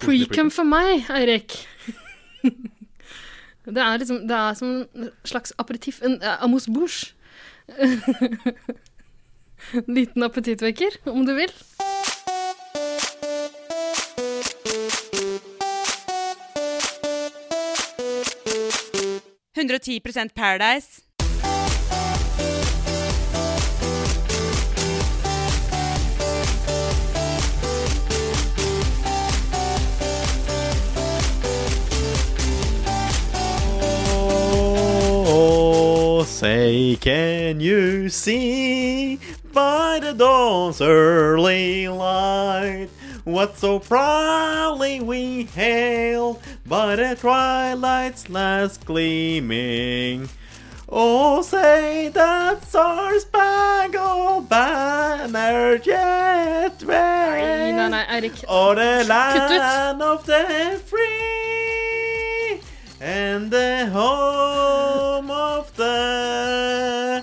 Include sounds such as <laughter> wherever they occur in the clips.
Precum for meg, Eirik. Det er liksom Det er som en slags aperitiff. En eh, amos bouche. <laughs> Liten appetittvekker, om du vil. Precum. 110 Paradise. Oh, say can you see by the dawn's early light what so proudly we hailed by the twilight's last gleaming? Oh, say that's our spangled banner yet Nei, red nei, nei, Eirik. og det Kutt ut. land of the free and the home of the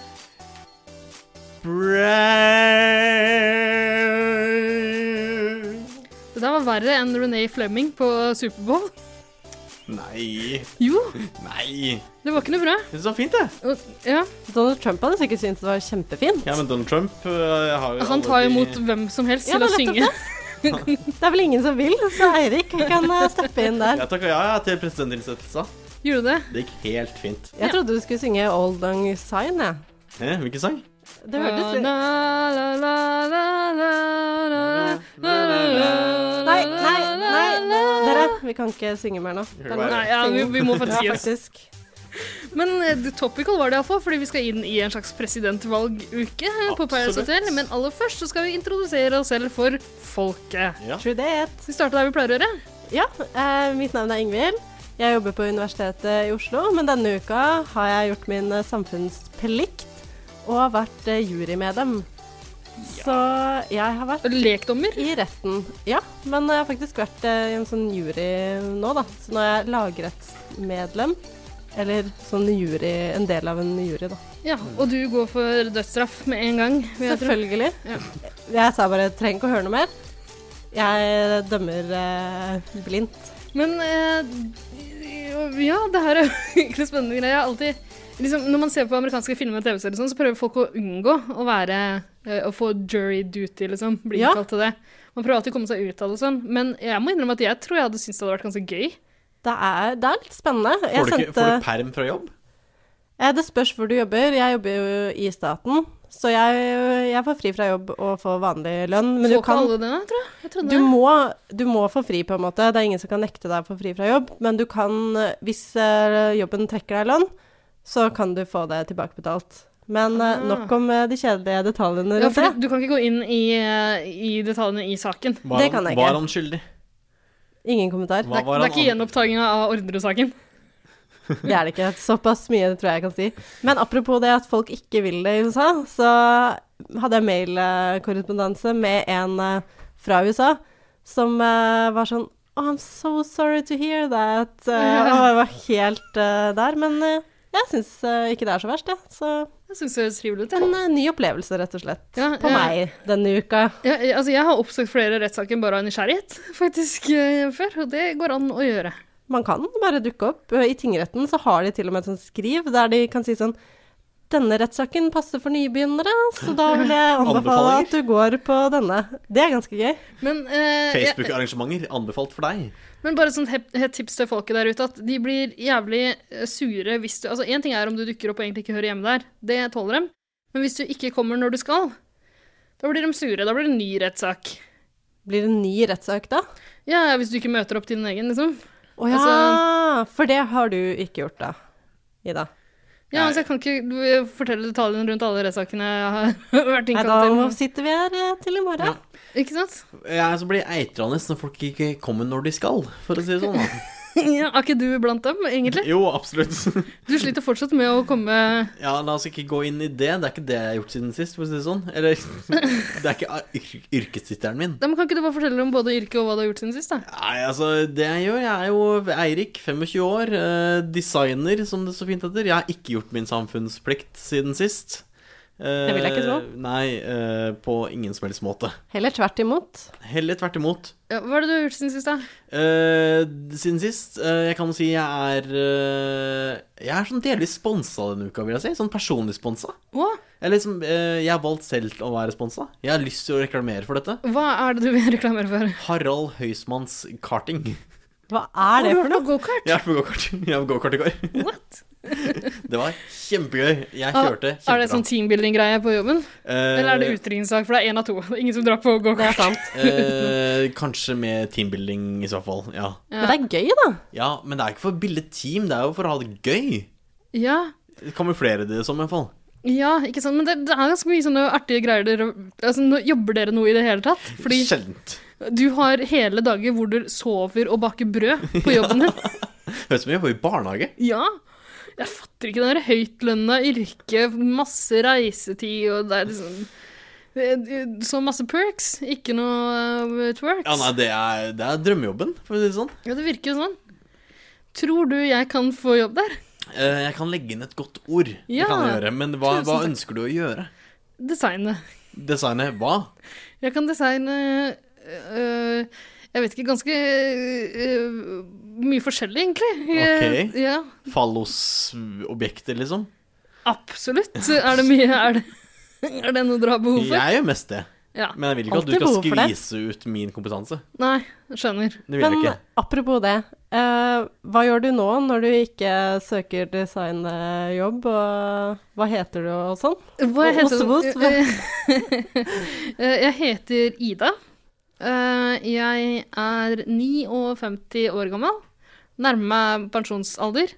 brave. Det der var verre enn René Flemming på Superbowl. Nei, Jo, nei. det var ikke noe bra. Det er så fint, det. Og- Ja, Donald Trump hadde sikkert syntes det var kjempefint. Ja, men Donald Trump eh, har jo altså, han alle tar jo de- imot hvem som helst Ja, til å det er nettopp synge. Det er vel ingen som vil, så Eirik kan eh, steppe inn der. Jeg takka ja, ja til presidentilsettelsen. Gjorde det? Det gikk helt fint. Jeg trodde du skulle synge Old Long Sign, jeg. Hæ, hvilken sang? Det hørtes litt La, la, la, la, la, la, la, la, la, la, Nei, nei, la, la, nei. la. Dere, vi kan ikke synge mer nå. Det er Nei, nok. Nei, ja, vi, vi må faktisk Ja, gi oss. faktisk. Men eh, the topical var det iallfall, fordi vi skal inn i en slags presidentvalguke her på Paradise Absolutt. Hotel. Men aller først så skal vi introdusere oss selv for folket. True that. Så Vi starter der vi pleier å gjøre. Ja, eh, mitt navn er Ingvild. Jeg jobber på Universitetet i Oslo, men denne uka har jeg gjort min eh, samfunnsplikt og vært eh, jurymedlem. Så jeg har vært Lekdommer. i retten, ja. Men jeg har faktisk vært eh, i en sånn jury nå, da. Så nå er jeg lagrettsmedlem. Eller sånn jury, en del av en jury, da. Ja, og du går for dødsstraff med en gang. vil jeg tro. Selvfølgelig. Ja. Jeg sa bare 'trenger ikke å høre noe mer'. Jeg dømmer eh, blindt. Men eh, ja, det her er <laughs> egentlig spennende greier. Jeg har alltid liksom, Når man ser på amerikanske filmer og TV-serier, og sånn, så prøver folk å unngå å være eh, Å få jury duty, liksom. Bli Ja. innkalt til det. Man prøver alltid å komme seg ut av det og sånn. Men jeg må innrømme at jeg tror jeg hadde syntes det hadde vært ganske gøy. Det er, det er litt spennende. Får Jeg du, ikke, sendte, får du perm fra jobb? Eh, det spørs hvor du jobber. Jeg jobber jo i staten, så jeg, jeg får fri fra jobb og får vanlig lønn. Men Får du ikke kan alle det, tror jeg. jeg trodde du det. må, du må få fri, på en måte. Det er ingen som kan nekte deg å få fri fra jobb. Men du kan, eh, hvis eh, jobben trekker deg lønn, så kan du få det tilbakebetalt. Men eh, Ah. nok om eh, de kjedelige detaljene ja, rundt for det. du, du kan ikke gå inn i, eh, i detaljene i saken. Var Det han- kan jeg ikke. Var han skyldig? Ingen kommentar. Det Hva er, var det er han ikke gjenopptakinga av Ordre-saken. Det er det ikke. Såpass mye tror jeg jeg kan si. Men apropos det at folk ikke vil det i USA, så hadde jeg mailkorrespondanse med en eh, fra USA som eh, var sånn Oh, I'm so sorry to hear that. <laughs> eh, Og jeg var helt eh, der. Men eh, jeg syns eh, ikke det er så verst, jeg. Så Jeg syns det høres trivelig ut. jeg. en eh, ny opplevelse, rett og slett. Ja, På ja. meg denne uka. Ja, jeg- altså, jeg har oppsøkt flere rettssaker bare av nysgjerrighet, <laughs> faktisk, eh, før. Og det går an å gjøre. Man kan bare dukke opp. Eh, I tingretten så har de til og med et sånt skriv der de kan si sånn denne rettssaken passer for nybegynnere, så da vil jeg anbefale Anbefalinger? at du går på denne. Det er ganske gøy. Men, <laughs> eh, jeg- Facebook-arrangementer anbefalt for deg. men bare sånn hep- hett tips til folket der ute, at de blir jævlig eh, sure hvis du Altså, én ting er om du dukker opp og egentlig ikke hører hjemme der, det tåler dem. Men hvis du ikke kommer når du skal, da blir de sure. Da blir det en ny rettssak. Blir det en ny rettssak da? Ja, ja, hvis du ikke møter opp til din egen, liksom. Å ja, Altså, for det har du ikke gjort da, Ida. Ja, Nei. altså, jeg kan ikke eh, fortelle detaljene rundt alle rettssakene jeg har <laughs> vært Nei, da innkalt sitter vi her eh, til i morgen. til. Ikke sant? <laughs> Jeg er så blir eitrende når folk ikke kommer når de skal, for å si det sånn. <laughs> da. Ja, er ikke du blant dem, egentlig? Jo, absolutt. Du sliter fortsatt med å komme <laughs> Ja, la oss ikke gå inn i det. Det er ikke det jeg har gjort siden sist, for å si det sånn. Eller <laughs> det er ikke ar- yr yrkestittelen min. Nei, men Kan ikke du bare fortelle om både yrket og hva du har gjort siden sist? da? Nei, altså, det jeg gjør Jeg er jo Eirik, 25 år, eh, designer, som det så fint heter. Jeg har ikke gjort min samfunnsplikt siden sist. Det vil jeg ikke tro. Nei, eh, på ingen som helst måte. Heller tvert imot. Heller tvert imot. Ja, hva er det du har gjort siden sist, da? Eh, siden sist eh, Jeg kan si jeg er eh, Jeg er sånn delvis sponsa denne uka, vil jeg si. Sånn personlig sponsa. Hva? Jeg, liksom, eh, jeg har valgt selv å være sponsa. Jeg har lyst til å reklamere for dette. Hva er det du <laughs> vil reklamere for? Harald Høismanns karting. Hva er Har du det for vært noe? på gokart? Jeg har vært på gokart. Jeg var på gokart i går. What? <laughs> Det var kjempegøy. Jeg Ah, kjørte kjempebra. Er det sånn teambuilding-greie på jobben? Eh, Eller er det utringningssak? For det er én av to. Det er ingen som drar på Det gokart. er sant. eh, kanskje med teambuilding, i så fall. Ja. Men det er gøy, da. ja, men det er ikke for å bilde team, det er jo for å ha det gøy. Ja, Kamuflere det som, i hvert fall. ja ikke sant. Men det, det er ganske mye sånne artige greier dere altså, nå Jobber dere noe i det hele tatt? Fordi Sjeldent. du har hele dager hvor du sover og baker brød på jobben din. Høres ut som vi var i barnehage. Ja. Jeg fatter ikke det der høytlønna yrket, masse reisetid og det er liksom det- Så masse perks, ikke noe uh, twerks. Ja, nei, det er, det er drømmejobben, for å si det sånn. Ja, det virker jo sånn. Tror du jeg kan få jobb der? Eh, jeg kan legge inn et godt ord, Ja. det kan jeg gjøre, men hva, Tusen hva takk. ønsker du å gjøre? Designe. Designet hva? Jeg kan designe øh, Jeg vet ikke, ganske øh, mye forskjellig, egentlig. Jeg- Ok. Ja, Fallosobjekter, liksom? absolutt. Er det mye Er det, er det noe du har behov for? Jeg gjør mest det, Ja. men jeg vil ikke at du Alltid skal behov for det. skvise ut min kompetanse. Nei, skjønner. Det vil jeg Men ikke. apropos det, eh, hva gjør du nå når du ikke søker designjobb, og hva heter du og sånn? Hva Og heter Ossebos, hva- <laughs> Eh, Jeg heter Ida. Eh, Jeg er 59 år gammel. Nærmer meg pensjonsalder.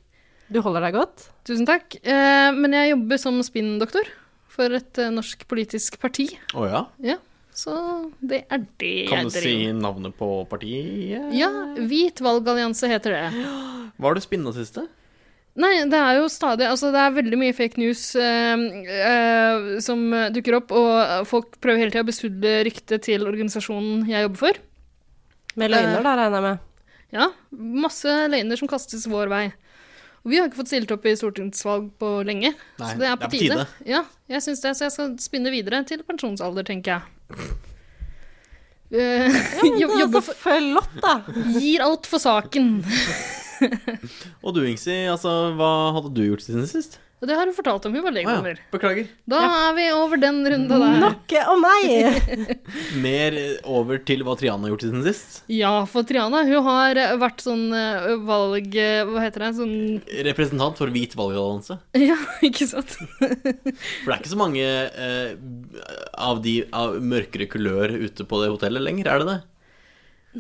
Du holder deg godt? Tusen takk. Eh, Men jeg jobber som spinndoktor for et eh, norsk politisk parti. Å ja? Ja, så det er det Kan jeg du si driver med. navnet på partiet? Ja, Hvit valgallianse heter det. Hva har du spinna siste? Nei, det er jo stadig Altså, det er veldig mye fake news eh, eh, som dukker opp, og folk prøver hele tida å besudle ryktet til organisasjonen jeg jobber for. Eh, Med løgner, da, <laughs> regner jeg med. Ja, masse løgner som kastes vår vei. Og vi har ikke fått stilt opp i stortingsvalg på lenge, Nei, så det er på, tide. Ja, jeg syns det, så jeg skal spinne videre til pensjonsalder, tenker jeg. Eh, <laughs> Ja, job- jobber så flott, <laughs> da! for Gir alt for saken. Og du, Ingsi, altså, hva hadde du gjort siden sist? Og det har hun fortalt om, hun var Å ja, legedommer. beklager. Da er vi over den runda der. Nok om meg! Mer over til hva Triana har gjort siden sist. Ja, for Triana, hun har eh, vært sånn eh, valg... eh, Hva heter det? Sånn <laughs> Representant for Hvit valgallianse. Ja, ikke sant? For det er ikke så mange eh, av de av mørkere kulør ute på det hotellet lenger, er det det?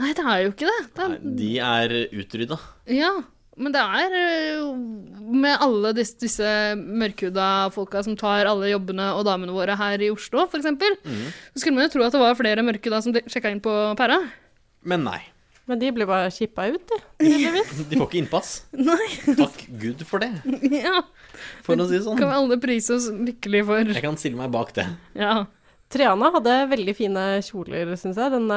Nei, det er jo ikke det. det Nei, er, De er utrydda. Ja, men det er øh, med alle disse, disse mørkhuda folka som tar alle jobbene og damene våre her i Oslo, for eksempel, så skulle man jo tro at det var flere mørkhuda som sjekka inn på pæra. <laughs> Men nei. Men de blir bare kippa ut, de. De får ikke <laughs> innpass. Nei. Takk Gud for det, Ja, for å si det kan vi sånn. alle prise oss lykkelig for. Jeg kan stille meg bak det. Ja. <laughs> Triana hadde veldig fine kjoler, syns jeg, denne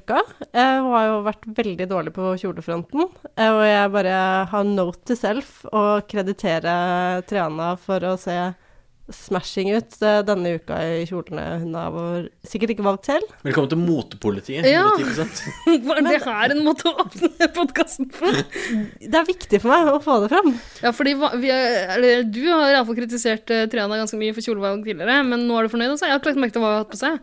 uka. Eh, Hun har jo vært veldig dårlig på kjolefronten, eh, og jeg bare har note to self å kreditere Triana for å se smashing ut eh, denne uka i kjolene hun har vår- sikkert ikke valgt selv. Velkommen til motepolitiet. Ja. 110%. Var det her en måte å åpne podkasten for? Det er viktig for meg å få det fram. Ja, fordi hva- vi er, eller, Du har iallfall kritisert eh, Triana ganske mye for kjolevalg tidligere, men nå er du fornøyd? altså? Jeg har ikke lagt merke til hva hun har hatt på seg.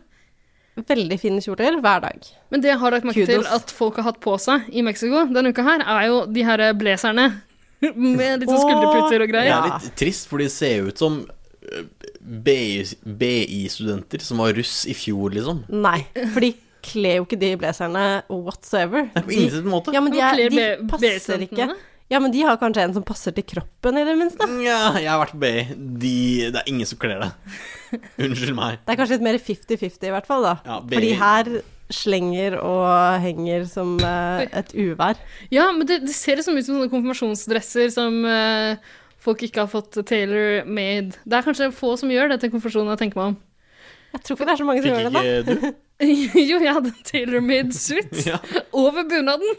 Veldig fine kjoler hver dag. Men det jeg har lagt merke til Kudos. at folk har hatt på seg i Mexico denne uka her, er jo de her eh, blazerne. <laughs> Med litt sånn Åh, skulderputer og Det greier. ja. er litt trist, for de ser ut som eh, BI BI-studenter som var russ i fjor, liksom. Nei, for de kler jo ikke de blazerne whatsoever. Nei, på De- ingen sin måte. Ja, men de, Hva er, kler de be- passer BI-studentene? ikke. Ja, men de har kanskje en som passer til kroppen, i det minste. Nja, jeg har vært på BI. De, det er ingen som kler det. <laughs> Unnskyld meg. Det er kanskje litt mer 50-50 i hvert fall, da. Ja, For de BI. her slenger og henger som eh, et uvær. Ja, men det, det ser liksom ut som sånne konfirmasjonsdresser som eh, folk ikke har fått tailor made. Det er kanskje få som gjør det til konfirmasjonen, jeg tenker meg om. <laughs> Jeg tror ikke det er så mange som Fikk gjør det, da. ikke du? jo, jeg hadde en tailor-made <laughs> suit Ja. over bunaden.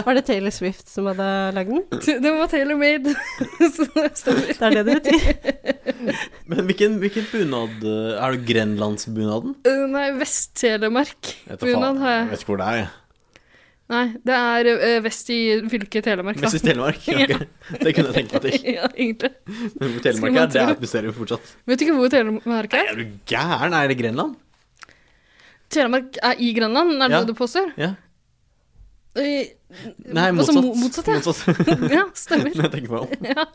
Var det Taylor Swift som hadde lagd den? Den var tailor-made. <laughs> Så det stemmer. Det er det det <laughs> betyr. Men hvilken, hvilken bunad eh, Er det Grenlandsbunaden? Eh, Nei, Vest-Telemark. Jeg vet da faen. Bunad har Jeg jeg. vet ikke hvor det er. jeg. Nei, det er eh, vest i fylket Telemark, da. Mest i Telemark? <laughs> Ja. Ok. Det kunne jeg tenkt meg til. <laughs> ja, egentlig. Men hvor Skulle Telemark man er, det er tro. et mysterium fortsatt. Vet du ikke hvor Telemark er? Er du gæren? Er det Grenland? Telemark er i Grønland, er det Ja. det du påstår? Ja. Eh, Nei, Altså, motsatt. mo- motsatt, ja. <laughs> Motsatt. <laughs> Ja, stemmer. Når jeg tenker meg om.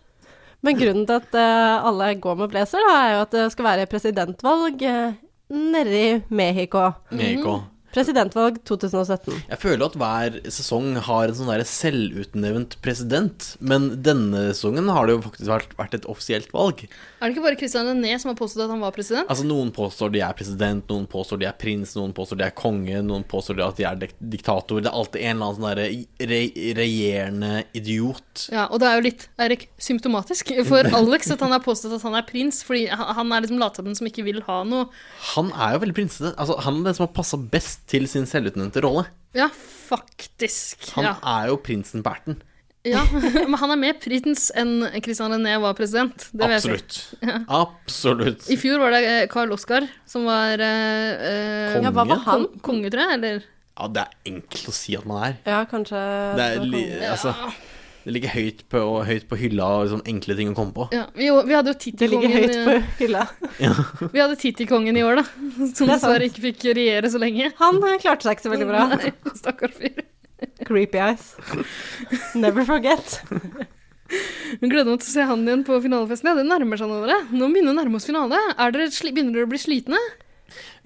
Men grunnen til at eh, alle går med blazer, da, er jo at det skal være presidentvalg eh, nede i Mexico. Mexico. Mhm. Presidentvalg 2017. Jeg føler at hver sesong har en sånn der selvutnevnt president, men denne sesongen har det jo faktisk vært, vært et offisielt valg. Er det ikke bare Christian René som har påstått at han var president? Altså Noen påstår de er president, noen påstår de er prins, noen påstår de er konge, noen påstår de at de er dek- diktator. Det er alltid en eller annen sånn derre re regjerende idiot. Ja, og det er jo litt Erik, symptomatisk <laughs> for Alex at han har påstått at han er prins, fordi han han er liksom latsaben som ikke vil ha noe Han er jo veldig prinsete. Altså, han er den som har passa best til sin selvutnevnte rolle. Ja, faktisk. Han Ja. er jo prinsen på erten. ja. <laughs> Men han er mer prins enn Christian René var president. Det vet jeg. Absolutt. Absolutt. I fjor var det eh, Karl Oskar som var eh, eh, Konge? Ja, hva var han? kon- Konge, tror jeg, eller Ja, det er enkelt å si at man er. Ja, kanskje Det, er var li, sånn, kongen. altså, det ligger høyt på, høyt på hylla av liksom, enkle ting å komme på. ja, vi, jo, vi hadde jo det ligger høyt på Tittikongen, hylla. eh, vi hadde Tittikongen i år, da. <laughs> Som Det er sant. dessverre ikke fikk regjere så lenge. Han eh, klarte seg ikke så veldig bra. <laughs> Nei, Stakkars fyr. Creepy eyes. Never forget. Hun gleder meg til å se han igjen på finalefesten. Ja, det nærmer seg nå, dere. Nå begynner vi å nærme oss finale. Er dere sli begynner dere å bli slitne?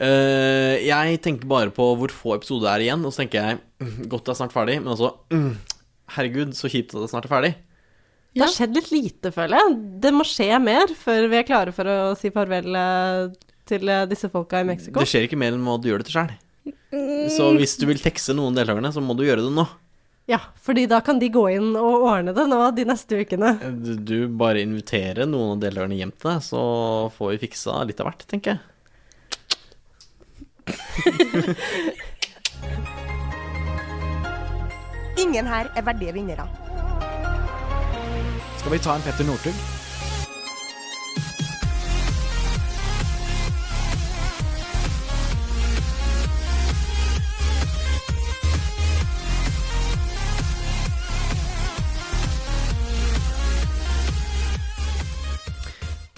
Eh, jeg tenker bare på hvor få episoder det er igjen, og så tenker jeg mm, godt det er snart ferdig, men altså mm, Herregud, så kjipt at det snart er ferdig. Det har skjedd litt lite, føler jeg. Det må skje mer før vi er klare for å si farvel eh, til eh, disse folka i Mexico. Det skjer ikke Mm. mer enn hva du gjør det til sjøl. Så hvis du vil tekste noen deltakerne, så må du gjøre det nå. Ja, fordi da kan de gå inn og ordne det nå de neste ukene. Du- Eh, Du bare inviterer noen av deltakerne hjem til deg, så får vi fiksa litt av hvert, tenker jeg. Ingen her er verdige vinnere. Skal vi ta en Petter Northug?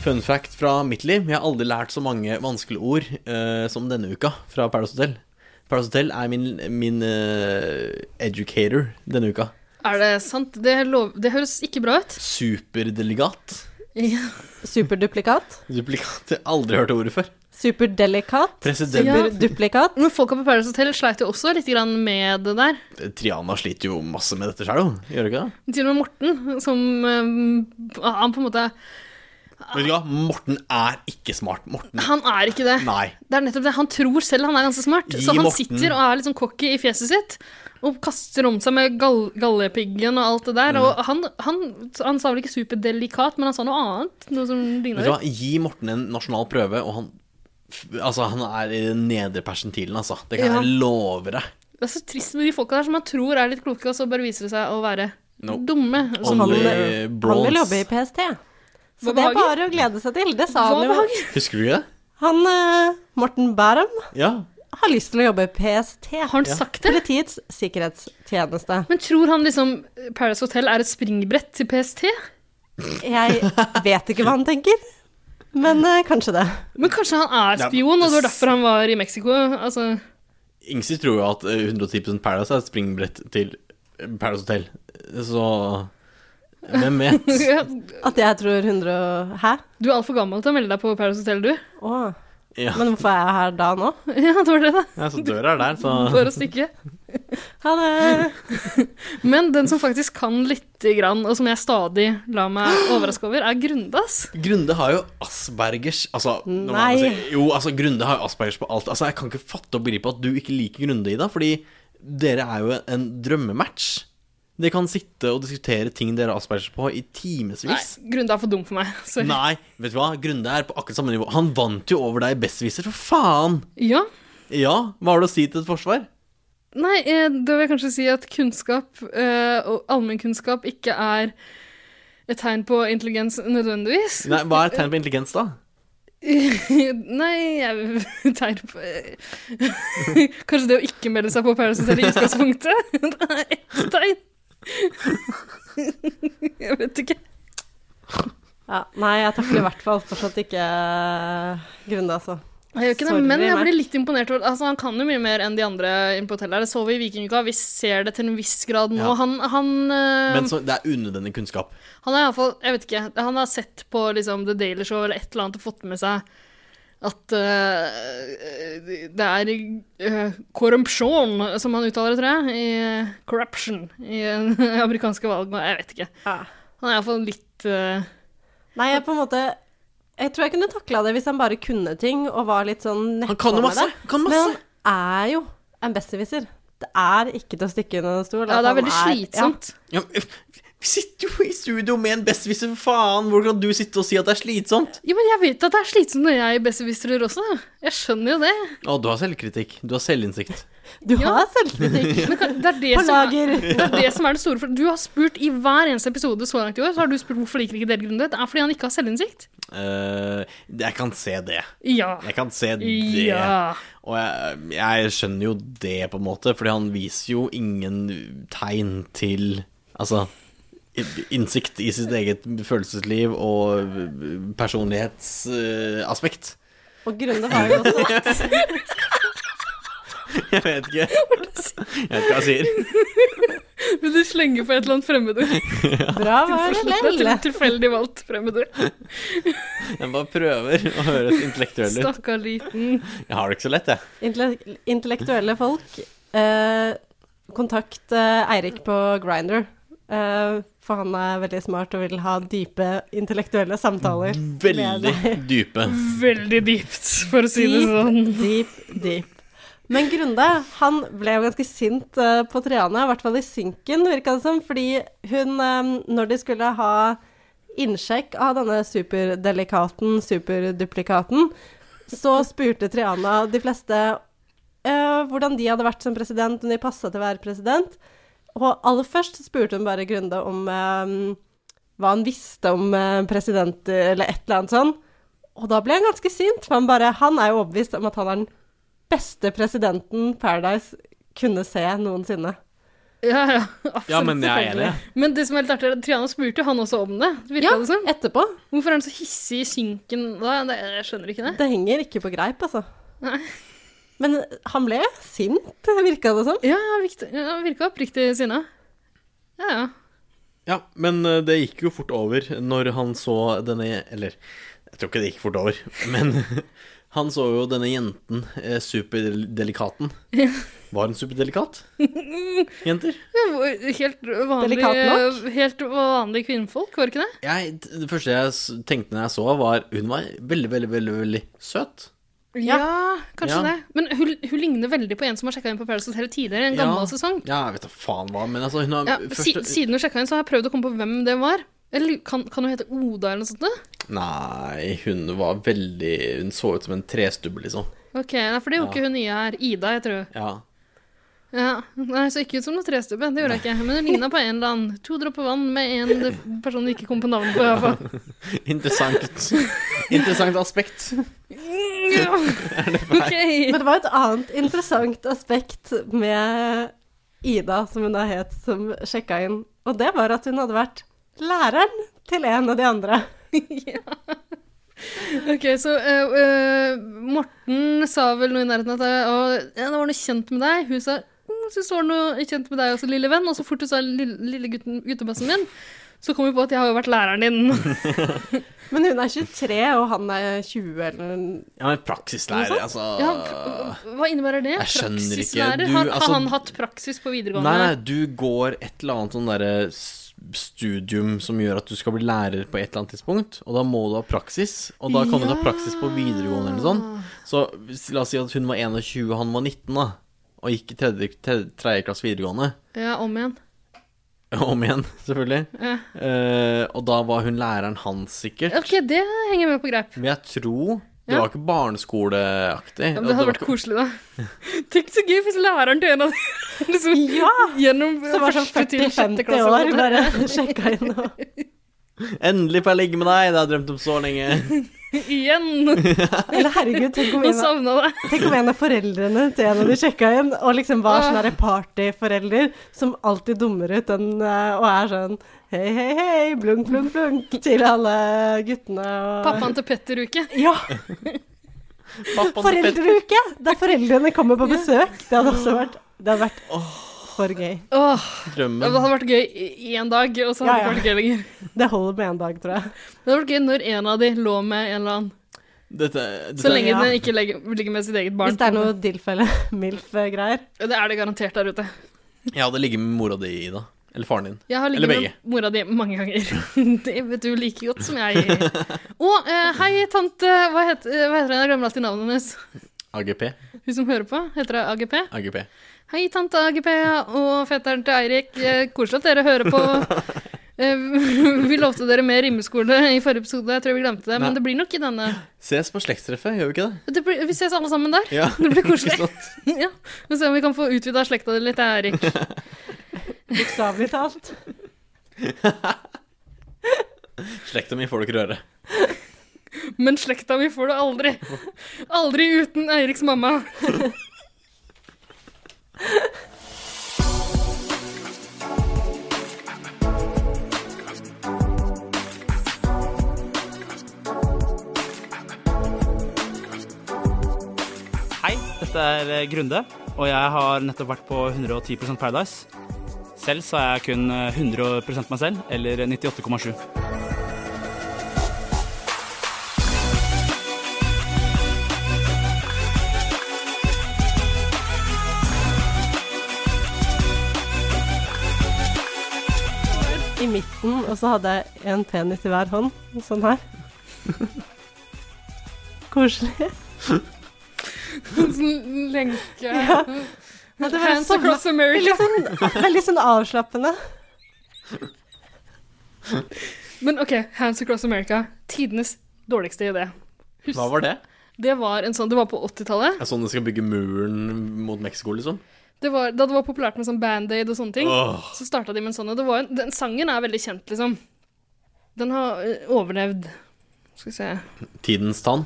Fun fact fra mitt liv. Jeg har aldri lært så mange vanskelige ord eh, som denne uka fra Paradise Hotel. Paradise Hotel er min, min eh, educator denne uka. Er det sant? Det, lov... det høres ikke bra ut. Superdelegat. Ja. Superduplikat. Duplikat. Jeg har aldri hørt ordet før. Superdelikat. President Ja. Superduplikat. Men folka på Paradise Hotel sleit jo også litt grann med det der. Triana sliter jo masse med dette sjøl, hun. Gjør hun ikke det? Til og med Morten, som eh, Han på en måte Ah. Vet du hva, Morten er ikke smart. Morten. <laughs> Han er ikke det. Nei. Det er nettopp det. Han tror selv han er ganske smart, Gi så han Morten. sitter og er litt sånn cocky i fjeset sitt. Og kaster om seg med gall gallepiggen og alt det der. Mm. Og han, han, han sa vel ikke superdelikat, men han sa noe annet. Noe som Vet du ligna hva, gi Morten en nasjonal prøve, og han Altså, han er i den nedre persentilen, altså. Det kan Ja. jeg love deg. Det er så trist med de folka der som man tror er litt kloke, og så bare viser det seg å være No. dumme. Som Han, Only han bronze. vil jobbe i PST. Så Hva det er behager? bare å glede seg til. Det sa Hva han jo. behager? Husker du ikke det? Han eh, Morten Bærum Ja. har lyst til å jobbe i PST. Har han sagt det? Politiets sikkerhetstjeneste. Men tror han liksom Paradise Hotel er et springbrett til PST? Jeg vet ikke hva han tenker, men eh, kanskje det. Men kanskje han er Ja, men- spion, og det var derfor han var i Mexico? Altså, <laughs> Ingsid tror jo at eh, 110 Paradise er et springbrett til eh, Paradise Hotel. Så hvem vet? <laughs> du At jeg tror 100 og Hæ? er altfor gammel til å melde deg på Paradise Hotel, du. <laughs> Å. Ja. Men hvorfor er jeg her da nå? Ja, det var det, <laughs> da. ja, så døra er der, så For å stikke. Ha det. Men den som faktisk kan lite grann, og som jeg stadig lar meg overraske over, er Grundas. Grunde har jo aspergers Altså, nå må Nei. jeg si- jo, altså Grunde har jo aspergers på alt. Altså, Jeg kan ikke fatte og begripe at du ikke liker Grunde, Ida, fordi dere er jo en drømmematch. Dere kan sitte og diskutere ting dere har aspergers på, i Nei, timevis. Grunde er for dum for meg. <laughs> Sorry. Nei, vet du hva? Grunde er på akkurat samme nivå. Han vant jo over deg i Bestviser, for faen! Ja, Ja, hva har du å si til et forsvar? Nei, eh, da vil jeg kanskje si at kunnskap eh, og allmennkunnskap ikke er et tegn på intelligens nødvendigvis. Nei, hva er et tegn på intelligens, da? <laughs> Nei, jeg <laughs> tegn på eh, <laughs> Kanskje det å ikke melde seg på Paradise Hotel i utgangspunktet? <laughs> Det er ett tegn. <laughs> Jeg vet ikke. Ja, nei, jeg takler i hvert fall fortsatt ikke Grunde, altså. Jeg gjør ikke det, Sorry, men jeg nei. blir litt imponert over Altså, han kan jo mye mer enn de andre inne på hotellet her. Det så vi i Vikinguka, vi ser det til en viss grad nå. Ja. Han, han, eh, Men så, det er unødvendig kunnskap. han er iallfall Jeg vet ikke. Han har sett på liksom The Daily Show eller et eller annet og fått med seg at eh, det er eh, korrupsjon, som han uttaler det, tror jeg, i eh, corruption i <laughs> eh, amerikanske valg. og Jeg vet ikke. Ja. Han er iallfall litt eh, Nei, jeg på en måte Jeg tror jeg kunne takla det hvis han bare kunne ting og var litt sånn nettpå Han kan jo med masse, det. han kan masse. Men han er jo en besserwisser. Det er ikke til å stikke under en stol. Ja, det er at han veldig slitsomt. Ja, men, øh, vi sitter jo i studio med en bestviser, for faen! Hvor kan du sitte og si at det er slitsomt? Jo, men jeg vet at det er slitsomt når jeg er besserwisserer også. Jeg skjønner jo det. Å, du har selvkritikk. Du har selvinnsikt. Ja. Du Ja. har <laughs> selvkritikk Men kan- det er det, på som er, lager. det er det som er det store for Du har spurt i hver eneste episode så langt i år Så har du spurt hvorfor liker ikke dere Grunde. Det er fordi han ikke har selvinnsikt. Eh, jeg kan se det. Ja. Jeg kan se det. Ja. Og jeg, jeg skjønner jo det, på en måte, fordi han viser jo ingen tegn til Altså i- innsikt i sitt eget følelsesliv og eh, personlighetsaspekt. <laughs> Og Grunde var jo også Jeg vet ikke. Jeg vet ikke hva jeg sier. Men du slenger på et eller annet fremmedord. bra, var det Forslutta til lille? et tilfeldig valgt fremmedord. Jeg bare prøver å høres intellektuell ut. Stakkar liten. Jeg har det ikke så lett, jeg. Intellek- Intellektuelle folk. Eh, kontakt eh, Eirik på Grinder. Eh, for han er veldig smart og vil ha dype intellektuelle samtaler. Veldig dype. Veldig dypt, for å si det sånn. Deep, deep, deep. Men Grunde, han ble jo ganske sint eh, på Triana, i hvert fall i synken, virka det som, fordi hun, eh, når de skulle ha innsjekk av denne superdelikaten, superduplikaten, så spurte Triana de fleste eh, hvordan de hadde vært som president, om de passa til å være president. Og aller først så spurte hun bare Grunde om eh, hva han visste om eh, presidenter, eller et eller annet sånn. Og da ble han ganske sint, for han bare Han er jo overbevist om at han er den beste presidenten Paradise kunne se noensinne. Ja, ja, absolutt. Ja, men jeg er selvfølgelig. enig. Men det som er litt artig, er at Triana spurte jo han også om det. Virka det som. etterpå. Hvorfor er han så hissig i synken da? Det, jeg skjønner ikke det. Det henger ikke på greip, altså. Men han ble sint, virka det som. Ja, han virka, ja, virka oppriktig sinna. Ja, ja. Ja, men eh, det gikk jo fort over når han så denne Eller, jeg tror ikke det gikk fort over, <laughs> men han så jo denne jenten, eh, superdelikaten. Var hun superdelikat? <laughs> Jenter? Det var Helt Delikat vanlig, eh, helt vanlig kvinnfolk, var det ikke det? Jeg, det første jeg s- tenkte når jeg så, var hun var veldig, veldig, veldig veldig søt. Ja, kanskje Ja. det. Men hun, hun ligner veldig på en som har sjekka inn på Paradise Hotel tidligere, i en gammel Ja. sesong. Ja, jeg vet da faen hva, men altså, hun har Ja, si, første siden hun sjekka inn, så har jeg prøvd å komme på hvem det var. Eller kan, kan hun hete Oda eller noe sånt? da? Nei, hun var veldig Hun så ut som en trestubbe, liksom. Ok, nei, For det gjorde Ja. ikke hun nye her. Ida, jeg tror. Ja. Ja, nei, Så ikke ut som noe trestubbe, det gjorde jeg ikke. Men hun ligna på en eller annen. To dråper vann med en person du ikke kom på navnet på. i hvert <laughs> fall. <laughs> Interessant. Interessant aspekt. Ja. Ok. Men det var et annet interessant aspekt med Ida, som hun da het, som sjekka inn. Og det var at hun hadde vært læreren til en av de andre. Ok, så eh, eh, Morten sa vel noe i nærheten av at eh, «Å, ja, det var noe kjent med deg. Hun sa mm, så var det noe kjent med deg også, lille venn. Og så fort du sa lille, lille gutten, guttebassen min, så kom vi på at jeg har jo vært læreren din. Men hun er 23, og han er 20 eller Ja, men praksislærer, altså <laughs> Ja, pr- hva innebærer det? Jeg skjønner ikke. Praksislærer? Du, har, altså- har han hatt praksis på videregående? Nei, nei, du går et eller annet sånn derre s- studium som gjør at du skal bli lærer på et eller annet tidspunkt, og da må du ha praksis, og da kan du ta Ja. praksis på videregående eller noe sånt. Så hvis- la oss si at hun var 21 og han var 19, da, og gikk i tredje, tredje, tredje klasse videregående. <laughs> Ja, om igjen. Om igjen, selvfølgelig. Ja. Eh, og da var hun læreren hans, sikkert. Ok, det henger med på greip. Men jeg tror Det Ja. var ikke barneskoleaktig. Ja, men og det hadde var vært ikke- koselig, da. <laughs> Tenk så gøy hvis læreren til en av de <laughs> liksom, Ja! gjennom Som var sånn første til sjette 40-50 klasse, år, på en måte. bare <laughs> sjekka inn og Endelig får jeg ligge med deg, det har jeg drømt om så <laughs> lenge. <laughs> Igjen! Eller herregud, tenk om Og en, av- savna det. tenk om en av foreldrene til en av de sjekka inn, og liksom var sånn derre partyforelder som alltid dummer ut den eh, og er sånn hei, hei, hei, blunk, blunk, blunk til alle guttene og Pappaen til Petter-uke. Ja! Pappa, Foreldreuke! Der foreldrene kommer på besøk. Det hadde også vært Det hadde vært for gøy. Åh, ja, Drømmen. det hadde vært gøy i én dag, og så hadde Ja, det ikke vært gøy lenger. Det holder med én dag, tror jeg. Det hadde vært gøy når en av de lå med en eller annen. Dette, Så dette, lenge Ja. den ikke legger, ligger med sitt eget barn. Hvis det er noe tilfelle MILF-greier. Ja, Det er det garantert der ute. jeg hadde ligget med mora di, Ida. Eller faren din. Jeg har ligget Eller med mora di mange ganger. <laughs> Det vet du like godt som jeg. Og eh, hei, tante Hva heter, eh, hva heter hun? Jeg glemmer alltid navnet hennes. AGP. Hun som hører på, heter hun AGP? AGP. Hei, tante AGP og fetteren til Eirik. Eh, Koselig at dere hører på. <laughs> Eh, <laughs> Vi lovte dere mer rimeskole i forrige episode, jeg tror vi glemte det. Nei. Men det blir nok i denne. Ses på slektstreffet, gjør vi ikke det? Det blir, vi ses alle sammen der. Ja. <laughs> Det blir koselig. Ikke sant? <laughs> Ja, Vi ser om vi kan få utvida slekta di litt, Eirik. <laughs> Bokstavelig talt. <laughs> Slekta mi får du ikke røre. Men slekta mi får du aldri. Aldri uten Eiriks mamma. Hei, dette er eh, Grunde, og jeg har nettopp vært på 110 Paradise. Selv så er jeg kun eh, 100 meg selv, eller 98,7. I midten, og så hadde jeg en penis i hver hånd. Sånn her. Koselig. En sånn lenke. Ja. Ja, det var Hands sånn- across America. Veldig sånn, veldig sånn avslappende. Men OK, Hands Across America. Tidenes dårligste idé. Husk, Hva var det? det var en sånn, det var på 80-tallet. Er sånn du skal bygge muren mot Mexico, liksom? Det var- Da det var populært med sånn Band-Aid og sånne ting, Åh. så starta de med en sånn. Og det var en, den sangen er veldig kjent, liksom. Den har eh, overlevd Skal vi se Tidens tann.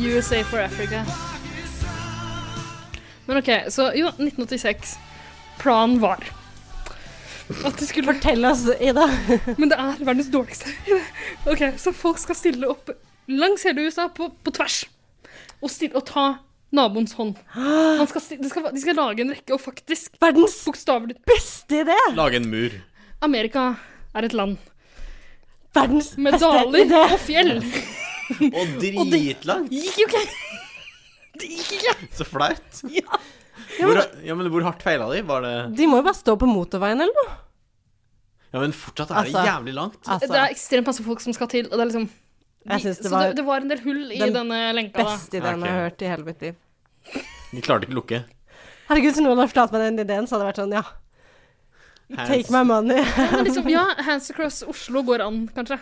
USA for Africa. Men OK, så jo, 1986. Planen var at det skulle Fortell oss, Ida. Men det er verdens dårligste. <laughs> Ok, Så folk skal stille opp langs hele USA, på, på tvers, og, stille, og ta naboens hånd. Man skal, sti- de, skal, de skal lage en rekke, og faktisk Verdens Bokstavelig beste idé! Lage en mur. Amerika er et land Verdens med beste daler idé. og fjell. Og dritlangt! Gikk jo ikke! Det gikk <laughs> ikke! Så flaut. Ja. Hvor, ja, men hvor hardt feila de? Var det De må jo bare stå på motorveien eller noe. Ja, men fortsatt er det Altså. jævlig langt. Altså, Det er ekstremt masse folk som skal til, og det er liksom Jeg synes det så var det, det var en del hull i den denne lenka. da. beste ideen jeg har hørt i hele mitt liv. De klarte ikke å lukke. Herregud, hvis noen hadde fortalt meg den ideen, så hadde jeg vært sånn, ja. Take my money. Men liksom, ja, Hands Across Oslo går an, kanskje.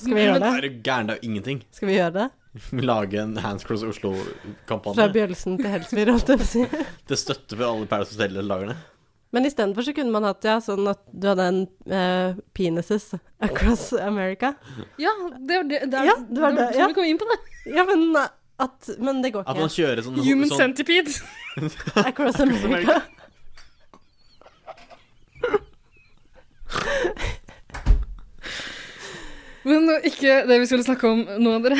Skal vi gjøre det? Er du gæren? Det er jo ingenting. Skal vi gjøre det? Lage en Hands Cross Fra Oslo-kampanje Bjølsen til Helsfyr, holdt jeg på å si. til støtte for alle Paradise Hotel-lagerne. Men istedenfor så kunne man hatt ja, sånn at du hadde en eh, penises across America. Ja, det var det, det, er- Ja, det var det, sånn ja. vi kom inn på det. Ja, men eh, at Men det går At man ikke. kjører sånn, Human sånn centipede. Across America. Men nå, ikke det vi skulle snakke om nå, dere.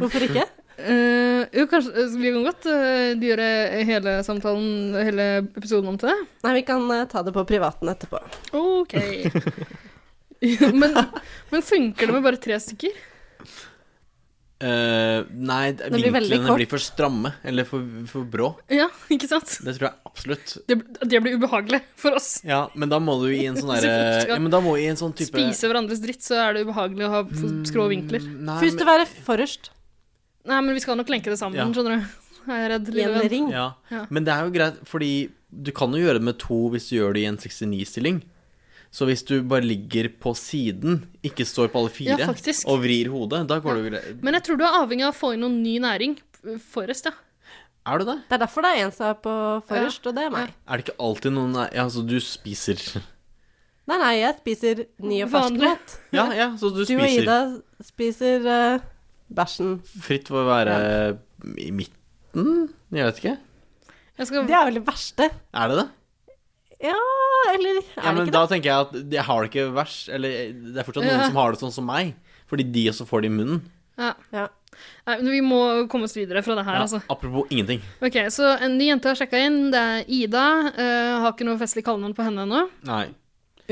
Hvorfor ikke? Eh, jo, kanskje eh, Vi kan godt eh, gjøre hele samtalen, hele episoden om til det. Nei, vi kan eh, ta det på privaten etterpå. <laughs> OK. men, men funker det med bare tre stykker? Eh, Nei, det- blir veldig vinklene kort. blir for stramme. Eller for, for brå. Ja, ikke sant? Det tror jeg absolutt. Det, det blir ubehagelig for oss. Ja, men da må du i en sånn Hvis derre du skal ja, men da må du i en sånn type Mm. Spise hverandres dritt, så er det ubehagelig å ha f- skrå vinkler. Nei, Først å men, være forrest Nei, men vi skal nok lenke det sammen, Ja. skjønner du. Jeg er redd, i lille en venn. ring. ja. Ja. men det er jo greit, fordi Du kan jo gjøre det med to hvis du gjør det i en 69-stilling. Så hvis du bare ligger på siden, ikke står på alle fire, Ja, faktisk. og vrir hodet, da går det jo greit. Men jeg tror du er avhengig av å få inn noen ny næring. Forrest, ja. Er du det? Det er derfor det er en som er på forrest, og det er meg. Er det ikke alltid noen Ja, så du spiser Nei, nei, jeg spiser ny og fersk Vanlig. mat. <laughs> Ja, ja, så du Du og Ida spiser spiser eh, bæsjen. fritt for å være i midten? Jeg vet ikke. Jeg skal, Det er vel det verste. Er det det? Ja, eller er Ja, det men ikke da det? tenker jeg at jeg har det ikke verst. Eller det er fortsatt Ja. noen som har det sånn som meg. Fordi de også får det i munnen. ja. Ja. Nei, men vi må komme oss videre fra det her, Ja, altså. Apropos ingenting. Ok, Så en ny jente har sjekka inn. Det er Ida. Eh, har ikke noe festlig kallenavn på henne ennå. Nei.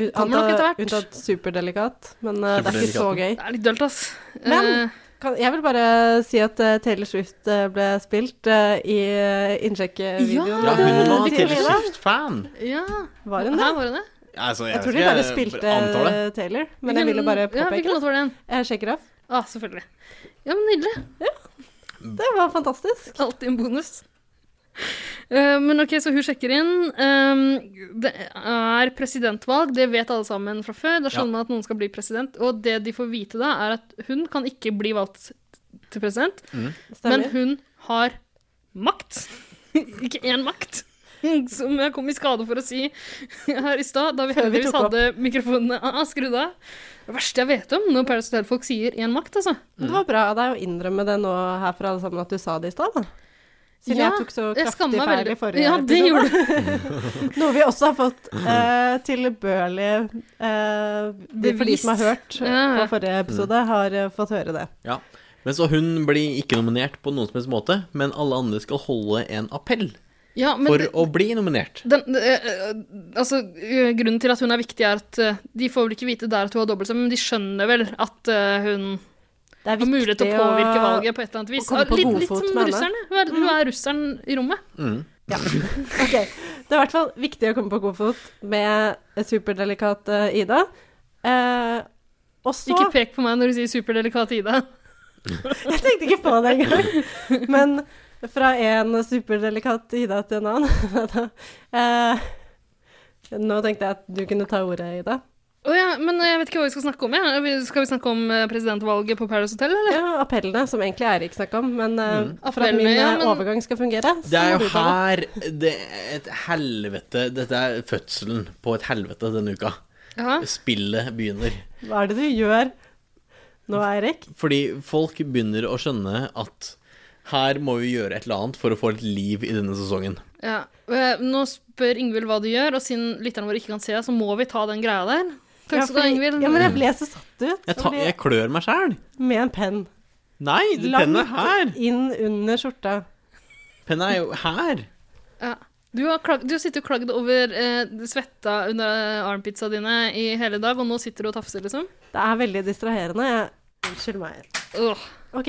U- Kommer nok etter unntatt- hvert. Unntatt superdelikat, men eh, det er ikke så gøy. Det er litt dølt, ass. Men- Eh, Kan, jeg vil bare si at eh, Taylor Swift eh, ble spilt eh, i uh, innsjekkevideoen. Ja, hun var eh, til Taylor Lina. Swift-fan. ja. Var hun det? Her var hun det. Altså, Jeg tror vet de bare ikke, spilte jeg antar det. eh, Taylor, men Hvilken- jeg ville bare Ja, påpeke hvilken det. låt var det igjen? Jeg sjekker av. Ah, selvfølgelig. Ja, men nydelig. Det var fantastisk. Alltid en bonus. Eh, men ok, så hun sjekker inn. Ehm, det er presidentvalg, det vet alle sammen fra før. Da skjønner man at noen skal bli president. Og det de får vite da, er at hun kan ikke bli valgt til president, men Stemmer. hun har makt. <laughs> ikke én makt. Som jeg kom i skade for å si her i stad, da vi Før vi heldigvis tok opp. hadde mikrofonene <laughs> ah, skrudd av. Det verste jeg vet om når Paris Hotel-folk sier én makt, altså. Det var bra av deg å innrømme det nå her for alle sammen at du sa det i stad, da. Siden Ja, jeg tok så Jeg kraftig skammer meg feil i veldig. forrige Ja, det gjorde du. Noe vi også har fått Mm. eh, tilbørlig eh, de- For de som har hørt Ja, ja. på forrige episode, har eh, fått høre det. Ja. Men så hun blir ikke nominert på noen som helst måte, men alle andre skal holde en appell Ja, men for det- å bli nominert. Den, eh, eh, altså, eh, grunnen til at hun er viktig, er at eh, de får vel ikke vite der at hun har dobbeltstemme, men de skjønner vel at eh, hun Det er har mulighet til å påvirke valget på et eller annet vis. å komme på litt, god litt fot som med henne. russerne. Hun er, hun er russeren i rommet. Mm. Ok, Det er i hvert fall viktig å komme på god fot med superdelikat eh, Ida. Eh, og så Ikke pek på meg når du sier superdelikat Ida. <laughs> Jeg tenkte ikke på det engang. <laughs> Men fra en superdelikat Ida til en annen <laughs> eh, Nå tenkte jeg at du kunne ta ordet, Ida. Å ja, men jeg vet ikke hva vi skal snakke om. Ja. Vi- Skal vi snakke om eh, presidentvalget på Paradise Hotel, eller? Ja, appellene, som egentlig Eirik snakka om, men eh, for at Appellene, min eh, ja, men- overgang skal fungere, så Mm. Det er må jo du ta det. her det er et helvete Dette er fødselen på et helvete denne uka. Ja. Spillet begynner. Hva er det du gjør nå, Eirik? Fordi folk begynner å skjønne at her må vi gjøre et eller annet for å få litt liv i denne sesongen. Ja. Eh, Nå spør Ingvild hva du gjør, og siden lytterne våre ikke kan se, så må vi ta den greia der. Takk skal du ha, fordi- Ingvild. ja, men jeg ble så satt ut. Jeg, ta, fordi- jeg klør meg sjæl. Med en penn. Nei, pennen er her. inn under skjorta. Pennen er jo her. Ja. Du har, klag, du har sittet og klagd over eh, svetta under eh, armpitsa dine i hele dag, og nå sitter du og tafser, liksom? Det er veldig distraherende. Jeg- Unnskyld meg. Åh. OK,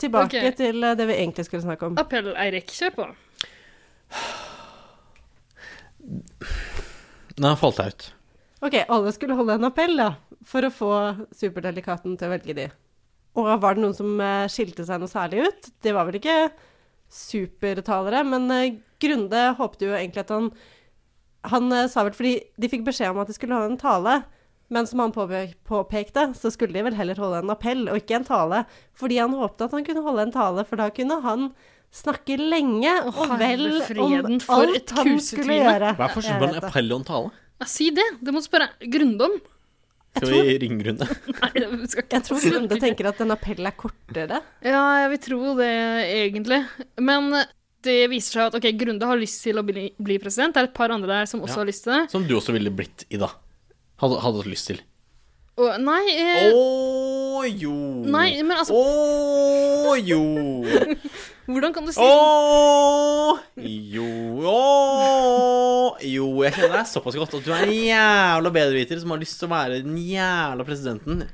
tilbake Ok. til eh, det vi egentlig skulle snakke om. Appell, Eirik. Kjør på. Den har falt ut. Ok, alle skulle holde en appell, da, for å få superdelikaten til å velge de. Og var det noen som eh, skilte seg noe særlig ut? Det var vel ikke supertalere, men eh, Grunde håpte jo egentlig at han Han eh, sa vel fordi de fikk beskjed om at de skulle holde en tale, men som han påpe- påpekte, så skulle de vel heller holde en appell og ikke en tale. Fordi han håpte at han kunne holde en tale, for da kunne han snakke lenge Å, og vel herre om freden, for et alt han skulle kusetryne. gjøre. Hva er forskjellen på Jeg en vet det. appell og en tale? Ja, si det! Det må du spørre Grunde om. Skal vi ringe Rune? <laughs> Nei, det skal ikke Jeg <laughs> tror Grunde tenker at en appell er kortere. Ja, jeg vil tro det, egentlig. Men det viser seg at ok, Grunde har lyst til å bli, bli president. Det er et par andre der som også Ja. har lyst til det. Som du også ville blitt, Ida. Hadde, hadde hatt lyst til. Og, nei, eh, Å jo. nei, men altså Å jo. Hvordan kan du si Å jo. Å jo. Jeg kjenner deg såpass godt at du er en jævla bedreviter som har lyst til å være den jævla presidenten.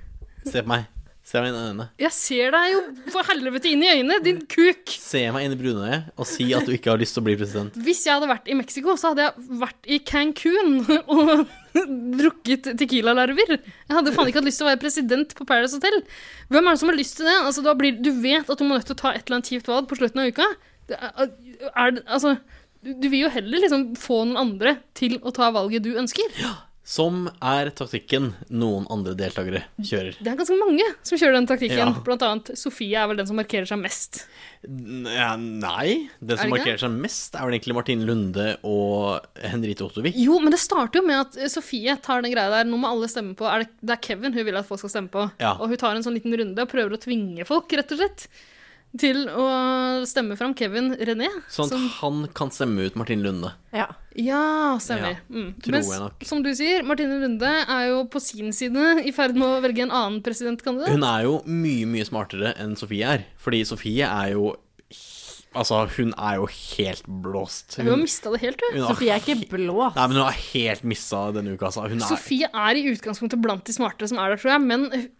Se på meg. Se meg inn i øynene. Jeg ser deg jo for helvete inn i øynene, din kuk! Se meg inn i brunøyet og si at du ikke har lyst til å bli president. Hvis jeg hadde vært i Mexico, så hadde jeg vært i Cancún <laughs> og drukket tequila-larver. Jeg hadde faen ikke hatt lyst til å være president på Paradise Hotel. Hvem er det som har lyst til det? Altså, da blir, du vet at du må nødt til å ta et eller annet kjipt valg på slutten av uka. Det er, er det, altså, du, du vil jo heller liksom få noen andre til å ta valget du ønsker. Som er taktikken noen andre deltakere kjører. Det er ganske mange som kjører den taktikken. Ja. Blant annet Sofie er vel den som markerer seg mest. N- ja, Nei, den Er som det ikke? markerer seg mest, er vel egentlig Martine Lunde og Henrite Ottervik. Jo, men det starter jo med at eh, Sofie tar den greia der. Nå må alle stemme på er det, det er Kevin hun vil at folk skal stemme på. Ja. Og hun tar en sånn liten runde og prøver å tvinge folk, rett og slett, til å stemme fram Kevin René. Sånn at som, han kan stemme ut Martine Lunde. Ja. ja, stemmer. Ja, mm. tror Mens, jeg nok. som du sier, Martine Runde er jo på sin side i ferd med å velge en annen presidentkandidat. Hun er jo mye, mye smartere enn Sofie er. Fordi Sofie er jo Altså, hun er jo helt blåst. Hun har mista det helt, hun. hun har, Sofie er ikke blå. ass. nei, men hun har helt missa denne uka, altså. Hun er, Sofie er i utgangspunktet blant de smartere som er der, tror jeg, men eh,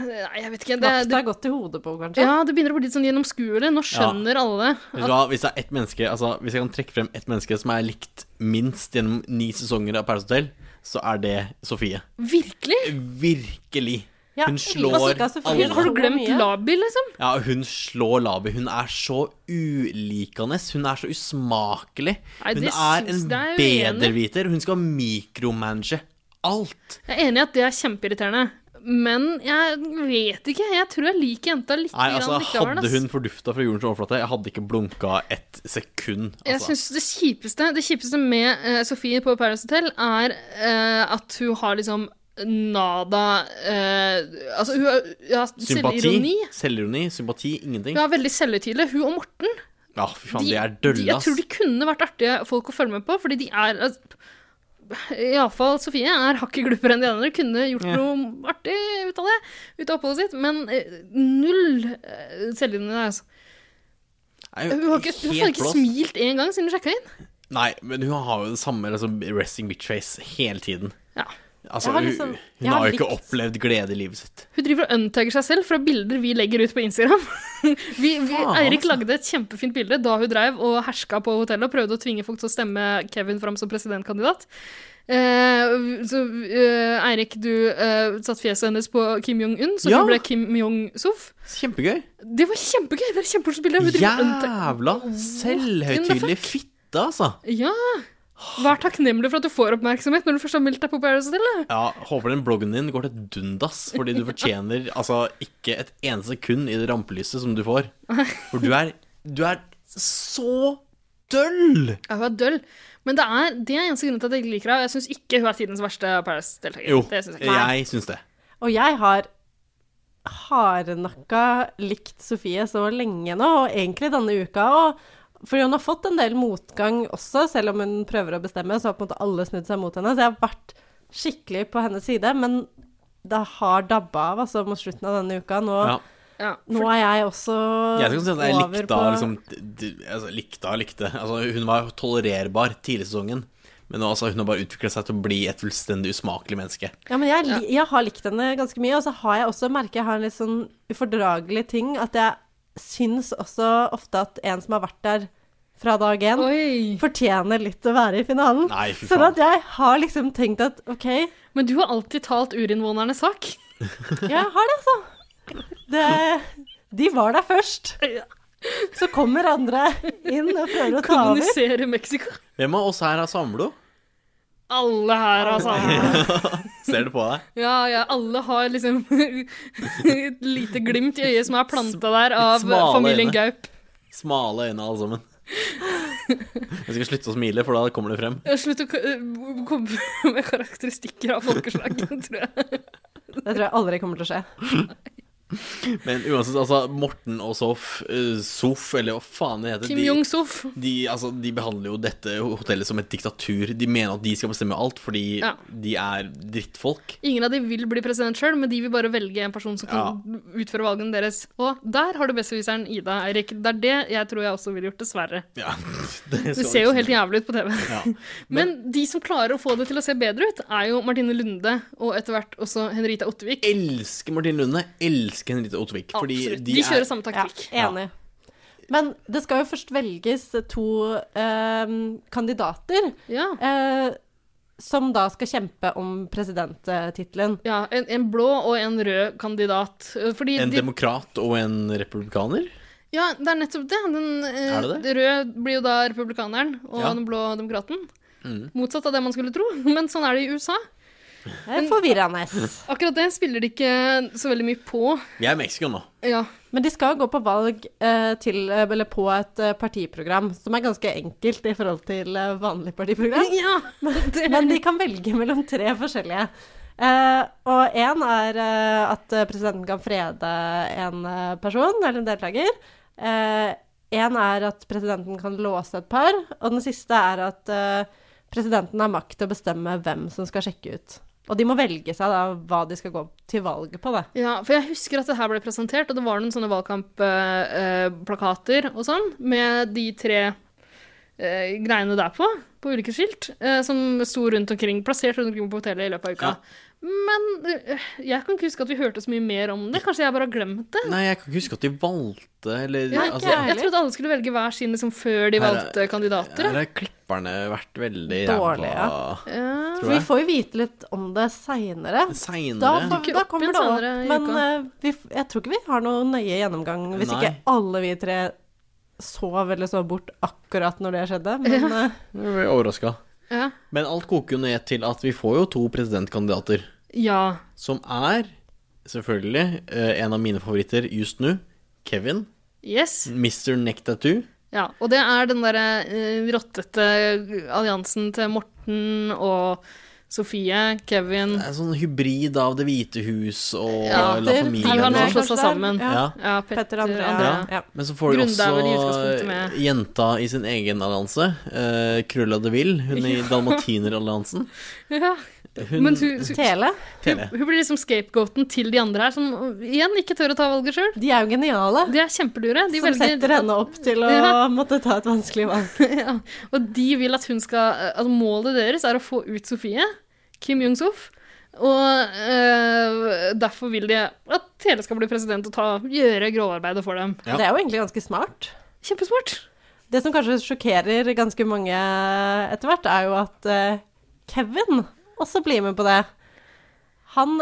Nei, jeg vet ikke. Det, Vakta det, er godt i hodet på, kanskje. ja, det begynner å bli litt sånn gjennomskuelig. Nå skjønner alle Vet du hva, hvis det er ett menneske Altså, hvis jeg kan trekke frem ett menneske som er likt minst gjennom ni sesonger av Paradise Hotel, så er det Sofie. Virkelig? Virkelig. Ja, Hun altså, slår ikke av Sofie, alle. så Har du glemt mye. Labi, liksom? Ja, hun slår Labi. Hun er så ulikende. Hun er så usmakelig. Nei, Hun det er en syns jeg er uenig. bedreviter. Hun skal mikromanage alt. Jeg er enig i at det er kjempeirriterende, men jeg vet ikke. Jeg tror jeg liker jenta litt Nei, grann altså, likevel, hadde ass. hun fordufta fra jordens overflate, jeg hadde ikke blunka et sekund. Altså. Jeg synes det kjipeste Det kjipeste med eh, Sofie på Paradise Hotel er eh, at hun har liksom nada eh, Altså, hun har ja, selvironi. Sympati, selvironi, sympati, ingenting. Hun Ja, er veldig selvhøytidelig. Hun og Morten fy faen, de- de er de- dølle, Jeg tror ass. de kunne vært artige folk å følge med på, fordi de er Iallfall Sofie er hakket glupere enn de andre. Kunne gjort Ja. noe artig ut av det, ut av oppholdet sitt, men eh, null eh, selvlinje der, altså. Nei, Hun har ikke, hun har faen helt ikke blåst. smilt én gang siden hun sjekka inn. Nei, men hun har jo det samme altså, resting bitch face hele tiden. Ja. Altså, Jeg har hun- liksom- hun jeg har har jo ikke likt- opplevd glede i livet sitt. Hun driver og untagger seg selv fra bilder vi legger ut på Instagram. <laughs> Vi, vi, Faen, Eirik altså. lagde et kjempefint bilde da hun dreiv og herska på hotellet og prøvde å tvinge folk til å stemme Kevin fram som presidentkandidat. Eh, så eh, Eirik, du eh, satte fjeset hennes på Kim Jong-un, så Ja. hun ble Kim Jong-Sof. Kjempegøy. Det var kjempegøy! Det er et kjempemorsomt bilde. Hun driver og untag- Jævla selvhøytidelig fitte, altså. Ja. Vær takknemlig for at du får oppmerksomhet når du først har meldt deg på Paradise Hotel. da. Ja, Håper den bloggen din går til dundas, fordi du fortjener <laughs> altså ikke et eneste sekund i det rampelyset som du får. For du er, du er så døll! Ja, hun er døll. Men det er, det er eneste grunnen til at jeg ikke liker henne. Jeg syns ikke hun er tidens verste Paradise-deltaker. Jo, Det synes jeg ikke. jeg syns det. Og jeg har hardnakka likt Sofie så lenge nå, og egentlig denne uka òg. Fordi hun har fått en del motgang også, selv om hun prøver å bestemme. Så har på en måte alle snudd seg mot henne. Så jeg har vært skikkelig på hennes side. Men det har dabba av altså, mot slutten av denne uka. Nå, Ja. Ja. nå er jeg også Jeg skal si at jeg over likte på henne liksom, d- d- altså, likte, henne, likte. Altså, hun var tolererbar tidlig i sesongen, men nå, altså, hun har bare utvikla seg til å bli et fullstendig usmakelig menneske. Ja, men jeg, li- jeg har likt henne ganske mye, og så har jeg også merket jeg har en litt sånn ufordragelig ting, at jeg syns også ofte at en som har vært der fra dag én, Oi. fortjener litt å være i finalen. Nei, fy sånn faen. at jeg har liksom tenkt at OK, Men du har alltid talt urinnvånernes sak. jeg har det, altså. Det, de var der først. Så kommer andre inn og prøver å ta over. Kommunisere Mexico. Hvem av oss her har samlo? Alle her, altså. Ser det på deg? Ja, ja, alle har liksom et lite glimt i øyet som er planta der av Smale familien øyne. Gaup. Smale øyne, alle sammen. Jeg skal slutte å smile, for da kommer det frem. Jeg har sluttet Eh, å k- øh, komme <laughs> med karakteristikker av folkeslag, <laughs> tror jeg. Det tror jeg aldri kommer til å skje. Men uansett, altså, Morten og Sof, eh, Sof eller hva faen det heter Kim de- Jong-sof. de, altså, de behandler jo dette hotellet som et diktatur. De mener at de skal bestemme alt, fordi Ja. de er drittfolk. Ingen av de vil bli president sjøl, men de vil bare velge en person som kan utføre valgene deres. Og der har du besserwisseren Ida, Eirik. Det er det jeg tror jeg også ville gjort, dessverre. Ja, <laughs> det, Det skal liksom ser jo ikke- helt jævlig ut på TV. ja. <laughs> Men de som klarer å få det til å se bedre ut, er jo Martine Lunde og etter hvert også Henrita Ottervik. Elsker Martin Lunde, elsker Henriette Ottervik. Fordi Absolutt. de, De er kjører samme taktikk. Ja, enig. Men det skal jo først velges to ehm, kandidater Ja. eh, som da skal kjempe om presidenttittelen. ja en, en blå og en rød kandidat. Eh, Fordi en de, demokrat og en republikaner. Ja, det er nettopp det. Den eh, Er det det? røde blir jo da republikaneren, og Ja. den blå demokraten. Mm. Motsatt av det man skulle tro, <laughs> men sånn er det i USA. Det er forvirrende. Akkurat det spiller de ikke så veldig mye på. Vi er i Mexico nå. Ja, Men de skal gå på valg eh, til, eh, eller på et eh, partiprogram som er ganske enkelt i forhold til eh, vanlig partiprogram. ja det, Men de kan velge mellom tre forskjellige. Eh, og én er eh, at presidenten kan frede en eh, person eller en deltaker. Én er at presidenten kan låse et par. Og den siste er at eh, presidenten har makt til å bestemme hvem som skal sjekke ut. Og de må velge seg da hva de skal gå til valg på, da. ja, for jeg husker at det her ble presentert, og det var noen sånne valgkampplakater og sånn, med de tre eh, greiene der på, på ulike skilt, eh, som sto rundt omkring, plassert rundt omkring på hotellet i løpet av uka. Ja. Men eh, jeg kan ikke huske at vi hørte så mye mer om det. Kanskje jeg bare har glemt det? Nei, jeg kan ikke huske at de valgte, eller Ja, altså, jeg, jeg trodde alle skulle velge hver sin liksom, før de Her er- valgte kandidater. Her da. har klipperne vært veldig Dårlige. ræva, Ja. For tror vi jeg. får jo vite litt om det seinere. Da, Seinere. får- Dukker da opp kommer igjen det opp. senere i Men uka. eh, vi, f- jeg tror ikke vi har noen nøye gjennomgang hvis Nei. ikke alle vi tre sov eller så bort akkurat når det skjedde. Men eh, Jeg ble overraska. Ja. Men alt koker jo ned til at vi får jo to presidentkandidater, ja. som er selvfølgelig eh, en av mine favoritter just nå, Kevin. Yes. Mr. Neck Tattoo. Ja, og det er den derre eh, rottete alliansen til Morten og Sofie, Kevin Det er en sånn hybrid av Det hvite hus og Ja, La Petter, Familia. de har og nå André slått seg sånn. kanskje der. sammen. Ja. Ja. Ja, Petter, Petter André. André. Ja. Men så får de Grunde er vel i også eh, utgangspunktet med. jenta i sin egen allianse, eh, Cruella de Ville. Hun i Dalmatineralliansen. Ja. Hun Men hun, hun, Tele, hun, Tele. hun blir liksom scapegoaten til de andre her, som igjen ikke tør å ta valget sjøl. de er jo geniale. De er kjempelure. De som setter henne opp til å Ja. måtte ta et vanskelig valg. <laughs> ja. Og de vil at hun skal altså Målet deres er å få ut Sofie, Kim Jong-sof. Og eh, derfor vil de at Tele skal bli president og ta, gjøre grovarbeidet for dem. Ja. Det er jo egentlig ganske smart. Kjempesmart. Det som kanskje sjokkerer ganske mange etter hvert, er jo at eh, Kevin også blir med på det. Han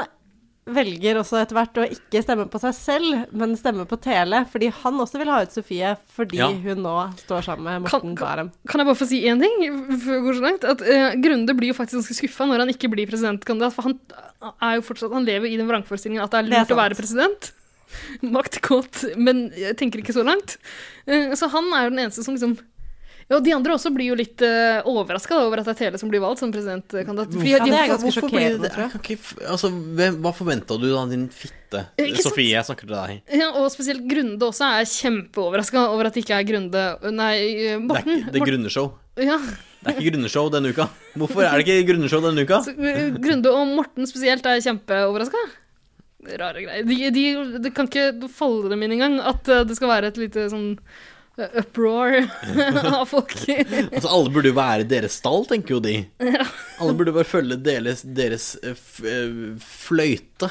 velger også etter hvert å ikke stemme på seg selv, men stemme på Tele, fordi han også vil ha ut Sofie fordi Ja. hun nå står sammen med Kan- Morten kan- Barem. Kan jeg bare få si én ting? før jeg går så langt? At eh, Grunde blir jo faktisk ganske skuffa når han ikke blir presidentkandidat. For han, eh, er jo fortsatt, han lever i den vrangforestillingen at det er Det er lurt å sant. være president. <laughs> Maktkåt, men jeg tenker ikke så langt. Eh, så han er jo den eneste som liksom ja, og De andre også blir jo litt uh, overraska over at det er Tele som blir valgt som presidentkandidat. Fordi Ja, det er de- ganske Hvorfor blir sjokkerende, det- tror jeg. kan ikke f- altså, hvem, hva forventa du da, din fitte? Eh, Ikke sant? Sofie, jeg snakker til deg. ja, og spesielt Grunde også er kjempeoverraska over at det ikke er Grunde Nei, eh, Det er, Morten. ikke- det er grunneshow. Morten ja. Det er ikke grunneshow denne uka. Hvorfor er det ikke grunneshow denne uka? Så, eh, Grunde og Morten spesielt er kjempeoverraska. Rare greier. De, de, det kan ikke falle dem inn engang at eh, det skal være et lite sånn eh, uproar <laughs> av folk. Altså, alle burde jo være i deres stall, tenker jo de. Alle burde bare følge deres, deres eh, f, eh, fløyte.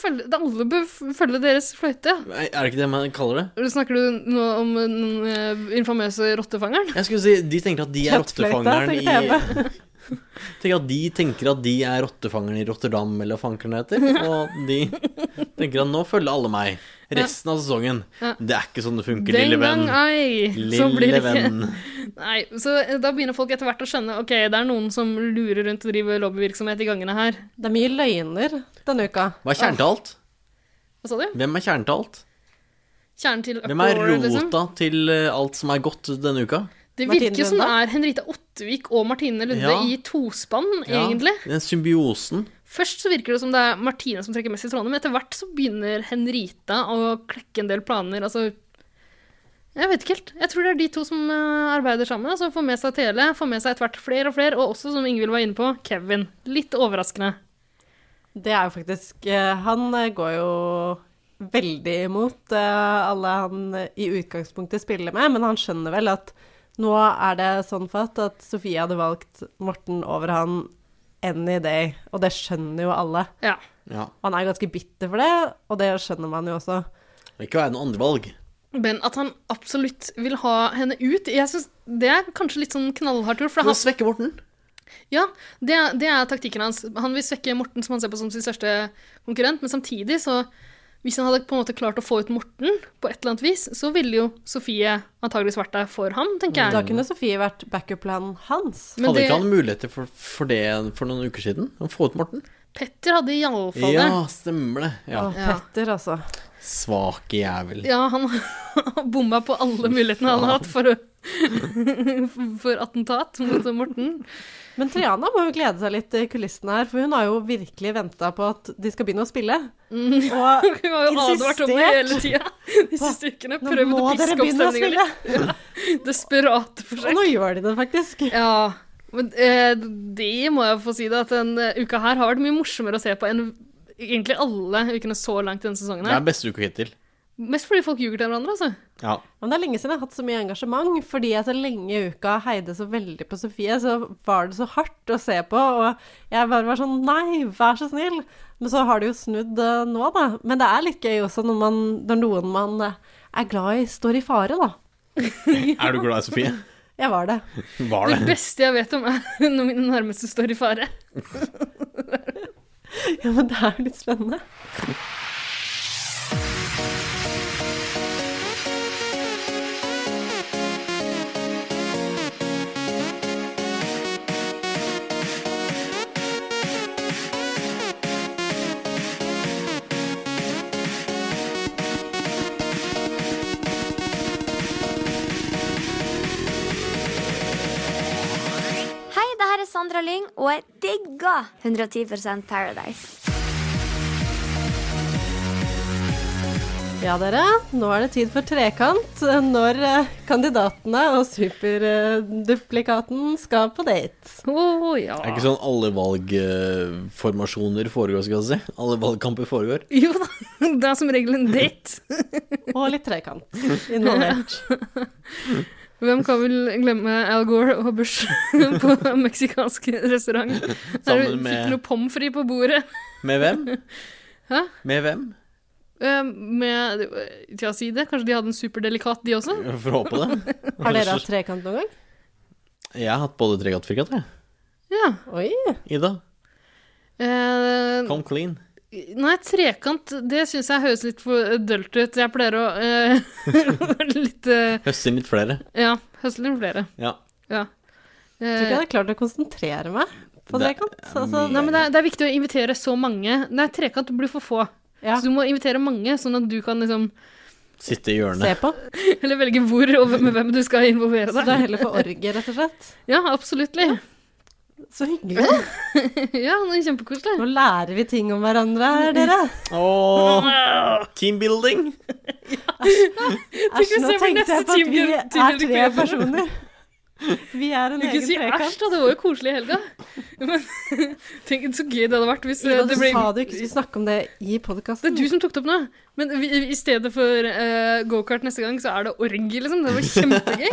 Følge, det- alle bør f- følge deres fløyte. Er er det ikke det man kaller det? Snakker du nå om den eh, infamøse rottefangeren? Jeg skulle si, De tenker at de er Kjøttfløyte, rottefangeren i tenkte jeg Tenker at de tenker at de er rottefangeren i Rotterdam, eller hva fankeren det heter. Og de tenker at nå følger alle meg. Resten av sesongen. Ja. Det er ikke sånn det funker, Den lille gang venn. ei, så blir det Lille ikke venn. <laughs> Nei, så eh, da begynner folk etter hvert å skjønne ok, det er noen som lurer rundt og driver lobbyvirksomhet i gangene her. Det er mye løgner denne uka. Hva er kjernen til alt? Hva sa du? Hvem er kjernen til alt? Kjernen til Hvem er uproar, liksom? rota til eh, alt som er godt denne uka? Det Martine virker som det Lunde? er Henrita Ottervik og Martine Lunde Ja. i tospann, Ja, egentlig. Den symbiosen. Først så virker det som det er Martine som trekker mest i trådene, men etter hvert så begynner Henrita å klekke en del planer. Altså Jeg vet ikke helt. Jeg tror det er de to som eh, arbeider sammen. Altså får med seg Tele, får med seg etter hvert flere og flere, og også, som Ingvild var inne på, Kevin. Litt overraskende. Det er jo faktisk eh, Han eh, går jo veldig imot eh, alle han eh, i utgangspunktet spiller med, men han skjønner vel at nå er det sånn fatt at Sofie hadde valgt Morten over han any day, og det skjønner jo alle. Ja. Ja. Og han er ganske bitter for det, og det skjønner man jo også. Det kan ikke være noe andrevalg. Men at han absolutt vil ha henne ut, jeg synes det er kanskje litt sånn knallhardt gjort. for Men han- å svekke Morten Ja, det, er- det er taktikken hans. Han vil svekke Morten, som han ser på som sin største konkurrent, men samtidig så Hvis han hadde på en måte klart å få ut Morten på et eller annet vis, så ville jo Sofie antageligvis vært der for ham, tenker Da jeg. kunne Sofie vært backup-planen hans. Men hadde det, ikke han muligheter for, for det for noen uker siden? Å få ut Morten? Petter hadde iallfall det. Ja, stemmer det. Ja. Å, Ja. Petter, altså. Svake jævel. Ja, han <laughs> har bomma på alle mulighetene han har hatt for, å- <laughs> for attentat mot Morten. Men Triana må jo glede seg litt i kulissene her, for hun har jo virkelig venta på at de skal begynne å spille. Og Hun har jo advart om det Insistert. hele tida de siste ukene. nå Prøvd å må dere piske opp begynne å stemninga spille! litt. Desperate Og forsøk. nå gjør de det faktisk. Ja, men eh, det må jeg få si, da, at denne uka her har vært mye morsommere å se på enn egentlig alle ukene så langt denne sesongen. Det her. er beste uka hittil. Mest fordi folk ljuger til hverandre, <laughs> altså. Ja. Men det er lenge siden jeg har hatt så mye engasjement, fordi jeg så lenge i uka heide så veldig på Sofie, så var det så hardt å se på, og jeg bare var sånn nei, vær så snill. Men så har det jo snudd eh, nå, da. Men det er litt gøy også når, man, når noen man eh, er glad i, står i fare, da. Er du glad i Sofie? Jeg var det. <laughs> Var Det det? beste jeg vet om, er <laughs> når mine nærmeste står i fare. Ja, men det er jo litt spennende. Hei, det her er Sandra Lyng, og jeg digger 110 Paradise. Ja, dere. Nå er det tid for trekant, eh, når eh, kandidatene og superduplikaten skal på date. Å ja. Det er ikke sånn alle valgformasjoner foregår, skal jeg si. Alle valgkamper foregår. Jo da, det er som regel en date. Og litt trekant involvert. Hvem kan vel glemme Al Gore og Bush <laughs> på en meksikansk restaurant? Der du Sammen med- fikk noe pommes frites på bordet Med hvem? Hæ? Med hvem? Eh, med Tja, si det. Kanskje de hadde en superdelikat, de også? Jeg får håpe det. Har dere hatt trekant noen gang? Jeg har hatt både trekant og firkant, jeg. Ja. Oi. Ida, Eh, come clean. Nei, trekant, det syns jeg høres litt for dølt ut. Jeg pleier å eh, <laughs> være litt eh, Høst inn litt flere. Ja, høsle inn flere. Ja. Ja. Tror ikke Eh, jeg hadde klart å konsentrere meg på Det trekant. er Altså, mye. nei, men det er, det er viktig å invitere så mange. Nei, trekant blir for få. ja, Så du må invitere mange, sånn at du kan liksom <laughs> Sitte i hjørnet. se på. Eller velge hvor og med hvem du skal involvere Så det deg. er heller for orgie, rett og slett. Ja, absolutt. <laughs> Ja, Så hyggelig. da. det er kjempekoselig. Nå lærer vi ting om hverandre her, dere. Åh, teambuilding! Æsj, ikke nå se på tenkte jeg neste på at vi time- time er du tre prøver. personer. Vi er en Du kan egen ikke si æsj, trekant. da. Det var jo koselig i helga. <laughs> Men <laughs> tenk så gøy det hadde vært hvis eh, Ida, du det ble sa du ikke skulle snakke om det i Det er podkasten. du som tok det opp nå. Men vi, i stedet for eh, gokart neste gang, så er det orgie, liksom. Det var <laughs> kjempegøy.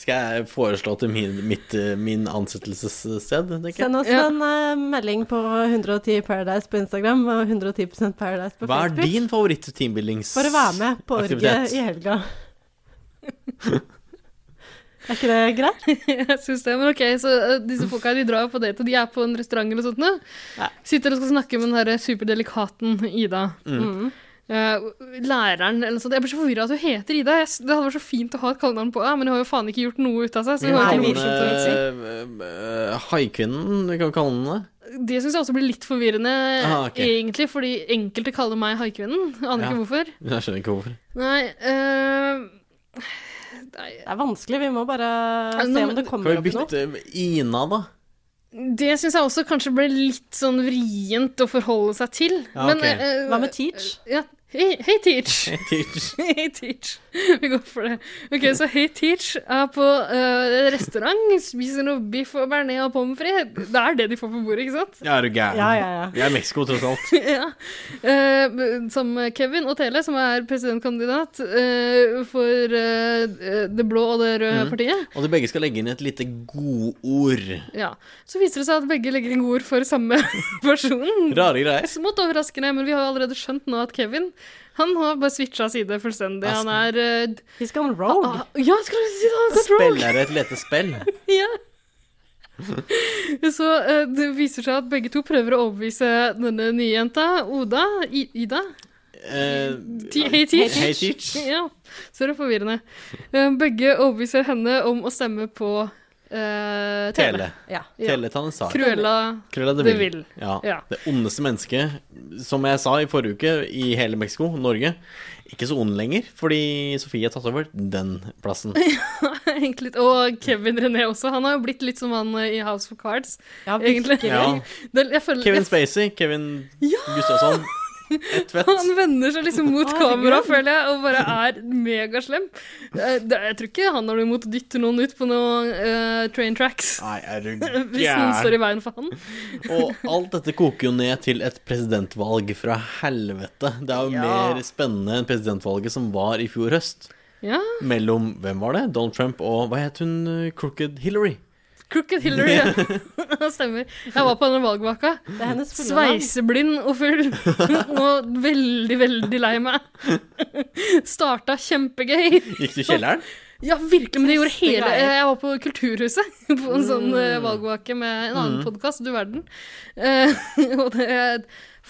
Skal jeg foreslå til min, mitt, eh, min ansettelsessted? tenker jeg? Send oss Ja. en eh, melding på 110 Paradise på Instagram og 110 Paradise på Hva er Facebook din favoritt-teambuildings... for å være med på orgiet aktivitet? i helga. <laughs> er ikke det greit? Jeg synes det, men ok, Så eh, disse folka her, de drar jo på date, og de er på en restaurant eller sånt nå. Ja. Sitter og skal snakke med den her eh, superdelikaten Ida. Mm. Eh, læreren eller noe sånt. Jeg blir så forvirra at hun heter Ida. Jeg, s- det hadde vært så fint å ha et kallenavn på henne, men hun har jo faen ikke gjort noe ut av seg. Så hun har Nei, ikke men, noe morsomt å si. eh, eh, Haikvinnen, du kan kalle henne det. Det syns jeg også blir litt forvirrende, Ah, ok. egentlig, fordi enkelte kaller meg haikvinnen. Aner Ja. ikke hvorfor. Jeg skjønner ikke hvorfor. Nei, eh, nei Det er vanskelig, vi må bare Altså, nå se må- om det Kan kommer vi opp noe. bytte med Ina, da? Det syns jeg også kanskje ble litt sånn vrient å forholde seg til. Ja, ok. Men eh, Hva med Teach? ja. Hei, hey, Teach! Teach. <laughs> Hei, Teach. Vi går for det. Ok, Så Hei, Teach er på eh, restaurant, spiser noe biff og bearnés og pommes frites. Det er det de får på bordet, ikke sant? <laughs> Ja, er du gæren? Ja, ja, ja. Vi er i Mexico, tross alt. ja. Eh, som Kevin og Tele, som er presidentkandidat eh, for eh, det blå og det røde Mhm. partiet. Og de begge skal legge inn et lite godord. Ja. Så viser det seg at begge legger inn ord for samme <laughs> person. Rare greier. Smått overraskende, men vi har jo allerede skjønt nå at Kevin han har bare switcha side fullstendig. Han er eh, He's gone rogue. ah, Ja, skulle du si det? Han har gått rogue! Spiller et lite spill. Ja. <laughs> Så eh, det viser seg at begge to prøver å overbevise denne nye jenta, Oda I Ida. eh, T- Hey Teach. Hey Teach. <laughs> Ja, så det er forvirrende. Eh, Begge overbeviser henne om å stemme på eh, Tele. Tele. Ja. Teletanne sa Cruella. <laughs> Cruella de De Vil. Vil. Ja. Ja. Det ondeste mennesket, som jeg sa i forrige uke, i hele Mexico, Norge. Ikke så ond lenger, fordi Sofie har tatt over den plassen. Egentlig, og Kevin René også. Han har jo blitt litt som han eh, i House of Cards. Ja, Egentlig. Ja. <laughs> Det, jeg føler, Kevin jeg, Spacey, Kevin Gustavsson. Ett fett. han vender seg liksom mot Å, kamera, herregud. føler jeg, og bare er megaslem. Eh, det- Jeg tror ikke han har noe imot å dytte noen ut på noen eh, train tracks. Nei, er du <laughs> Hvis noen står i veien for han. Og alt dette koker jo ned til et presidentvalg fra helvete. Det er jo mer spennende enn presidentvalget som var i fjor høst. Ja. Mellom hvem var det? Donald Trump og hva het hun? eh, Crooked Hillary. Crooked Hillary. <laughs> Ja. Stemmer. Jeg var på den valgvaka. Det er hennes fulle navn. Sveiseblind og full. <laughs> <laughs> Og veldig, veldig lei meg. <laughs> Starta kjempegøy. Gikk du i kjelleren? Ja, virkelig, men det gjorde Triste hele greier. Jeg var på Kulturhuset <laughs> på en sånn eh, valgvake med en annen podkast, Du verden. Eh, <laughs> og det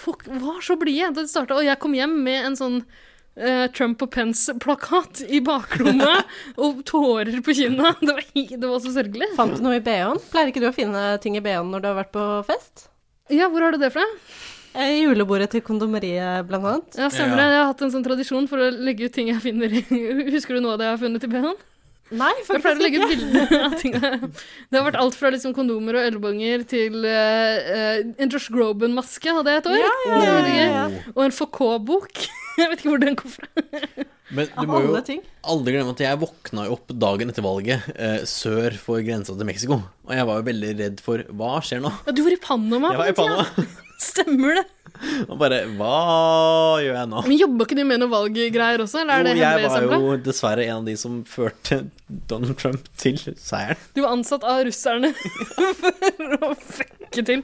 Folk var så blide da det starta, og jeg kom hjem med en sånn eh, Trump og Pence-plakat i baklomma og tårer på kinna. Det var, he- det var så sørgelig. Fant du noe i BH-en? Pleier ikke du å finne ting i BH-en når du har vært på fest? Ja, hvor har du det fra? Eh, julebordet til kondomeriet, blant annet. Ja, stemmer Ja. det. Jeg har hatt en sånn tradisjon for å legge ut ting jeg finner i <laughs> Husker du noe av det jeg har funnet i BH-en? Nei, Jeg pleier å faktisk legge ikke. ut bilder av ting. Det har vært alt fra liksom kondomer og ølbonger til eh, eh, en Josh Groban-maske hadde jeg et år. Det var veldig gøy. Oh. Og en FK-bok. <laughs> Jeg vet ikke hvor den kom fra. Men du Av må jo alle ting. aldri glemme at jeg våkna jo opp dagen etter valget eh, sør for grensa til Mexico. Og jeg var jo veldig redd for hva skjer nå? Ja, du var i Panama. Jeg var i på den Panama tiden. Stemmer det. og bare Hva gjør jeg nå? Men jobba ikke du med noe valggreier også? Eller er det Jo, jeg hemmelig var samla? jo dessverre en av de som førte Donald Trump til seieren. <laughs> Du var ansatt av russerne <laughs> for å fucke til.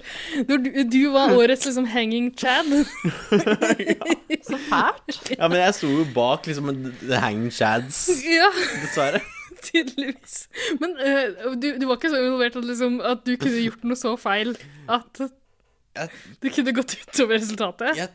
Du, du, du var årets liksom hanging Chad. Så <laughs> fælt. Ja, men jeg sto jo bak liksom The Hang Chads, Ja, dessverre. tydeligvis. Men eh, du, du var ikke så involvert at, liksom, at du kunne gjort noe så feil at det kunne gått utover resultatet? Jeg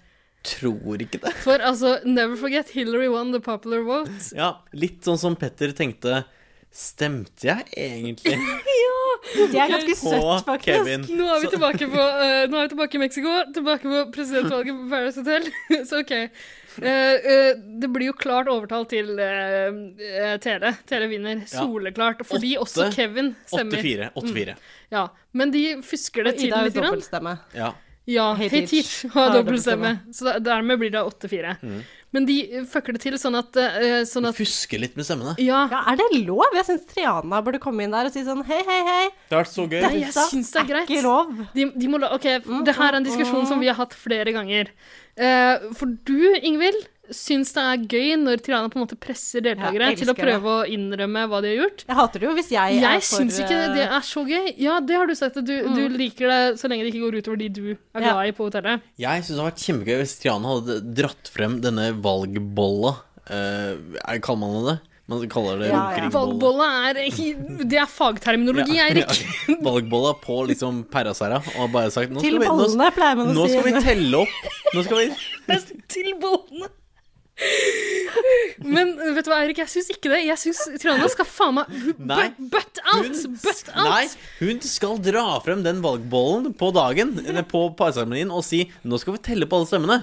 tror ikke det. For altså, never forget Hillary won the popular vote. Ja, litt sånn som Petter tenkte Stemte jeg egentlig Det er ganske på søtt, faktisk. Kevin? Nå er vi Så- tilbake på eh, Nå er vi tilbake i Mexico, tilbake på presidentvalget på Paradise Hotel. <laughs> Så OK. Eh, eh, det blir jo klart overtall til eh, eh, Tele. Tele vinner soleklart. Fordi også Åtte- Kevin stemmer. 8-4. 8-4. Ja, Men de fusker det Og til Ida har litt. Grann. dobbeltstemme. Ja. Ja, Hey Hey Teach Teach har har dobbeltstemme. Så da- dermed blir det 8-4. Mm. Men de eh, fucker det til sånn at, eh, sånn at Fuske litt med stemmene. Ja. Ja, er det lov? Jeg syns Triana burde komme inn der og si sånn hei, hei, hei. Det har vært så gøy. Nei, jeg Dette syns det er greit. Ikke lov. De, de må la, ok, Mm, det her er en diskusjon som vi har hatt flere ganger. Eh, for du, Ingvild, syns det er gøy når Triana på en måte presser deltakere Ja, jeg til å elsker det. prøve å innrømme hva de har gjort. Jeg hater det jo hvis jeg, Jeg er for eh, Mm. syns ikke det er så gøy. Ja, det har du sagt. at Du, du liker det så lenge det ikke går utover de du er Ja. glad i på hotellet. Jeg syns det hadde vært kjempegøy hvis Triana hadde dratt frem denne valgbolla. Eh, er- kaller man det det? Man kaller det Ja, ja. runkeringsbolle. Valgbolle er, det er fagterminologi, <laughs> Ja, Eirik. ja. Valgbolla på liksom Perrasæra og bare sagt nå Til skal, vi, nå, bollene, pleier man å nå si. skal vi telle opp. Nå skal vi Til bollene. Men vet du hva, Eirik, jeg syns ikke det. Jeg syns Triana skal faen meg Nei. butt out! Butt out! Nei, hun skal dra frem den valgbollen på dagen Eller på parseremonien og si Nå skal vi telle på alle stemmene.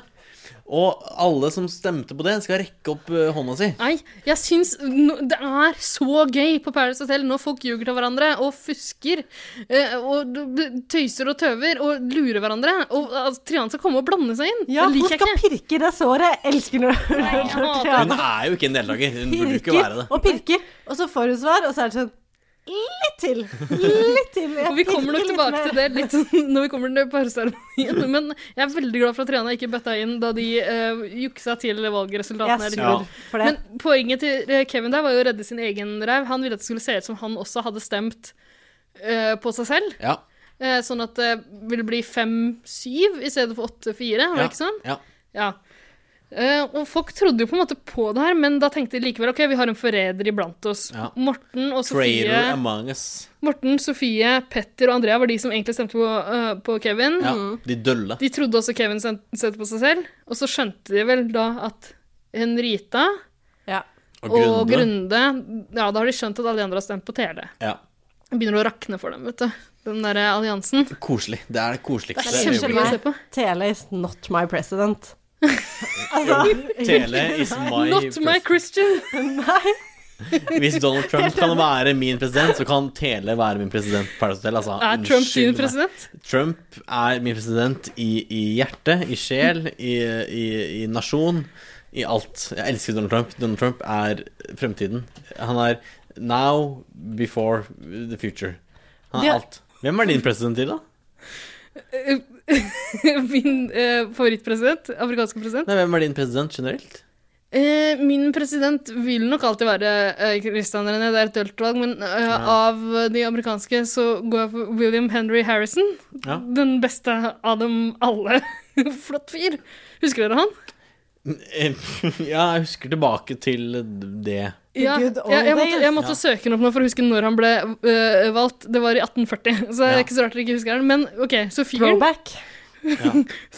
Og alle som stemte på det, skal rekke opp eh, hånda si. Nei, jeg syns nå- det er så gøy på Paradise Hotel når folk ljuger til hverandre og fusker eh, og d- d- tøyser og tøver og lurer hverandre. Og altså, Trian skal komme og blande seg inn. Ja, det hun liker jeg skal ikke. pirke i det såret. Jeg elsker når når hater Hun Triana er jo ikke en deltaker. Hun burde jo ikke være pirker det. og pirker, og så får hun svar, og så er det sånn Litt til. Litt til. jeg <laughs> Og vi kommer nok pirker litt tilbake mer. til det litt sånn <laughs> når vi kommer til parseremonien. Men jeg er veldig glad for at Triana ikke bøtta inn da de eh, juksa til Jeg valgresultatene. her i fjor. svor for det. Men poenget til eh, Kevin der var jo å redde sin egen ræv. Han ville at det skulle se ut som han også hadde stemt eh, på seg selv. Ja, Eh, sånn at det vil bli 5-7 i stedet for 8-4, var det ja, ikke sånn? ja. Ja. Eh, og folk trodde jo på en måte på det her, men da tenkte de likevel ok, vi har en forræder iblant oss. Ja. Morten og Sofie Traitor among us. Morten, Sofie, Petter og Andrea var de som egentlig stemte på, øh, på Kevin. Ja, de dølle. De trodde også Kevin sen- stemte på seg selv, og så skjønte de vel da at Henrita Ja. og Grunde, Ja, da har de skjønt at alle de andre har stemt på Tele. Ja. Det begynner å rakne for dem, vet du. Den derre alliansen. Det Koselig. Det er det koseligste. er kjempegøy å se på. Tele is not my <laughs> president. Altså, <laughs> Jo, Tele is my Not my Christian! Nei. Hvis Donald Trump kan være min president, så kan Tele være min president. Paradise Hotel, altså. Er Trump Unnskyld din meg. president? <laughs> Trump er min president i, i hjerte, i sjel, i, i, i nasjon, i alt. Jeg elsker Donald Trump. Donald Trump er fremtiden. Han er now, before, the future. Han Det- er alt. Hvem er din president til, da? Min øh, favorittpresident? Afrikanske president? Nei, hvem er din president <laughs> generelt? Eh, min president vil nok alltid være eh, Christian René, det er et dølt valg, men eh, av de amerikanske så går jeg for William Henry Harrison. Ja. Den beste av dem alle. <laughs> Flott fyr. Husker dere han? Ja, jeg husker tilbake til det. The good old jeg, jeg måtte, days. jeg måtte søke den opp nå for å huske når han ble eh, valgt. Det var i 1840, så det Ja. er ikke så rart dere ikke husker den. Men OK, så fyren Throwback.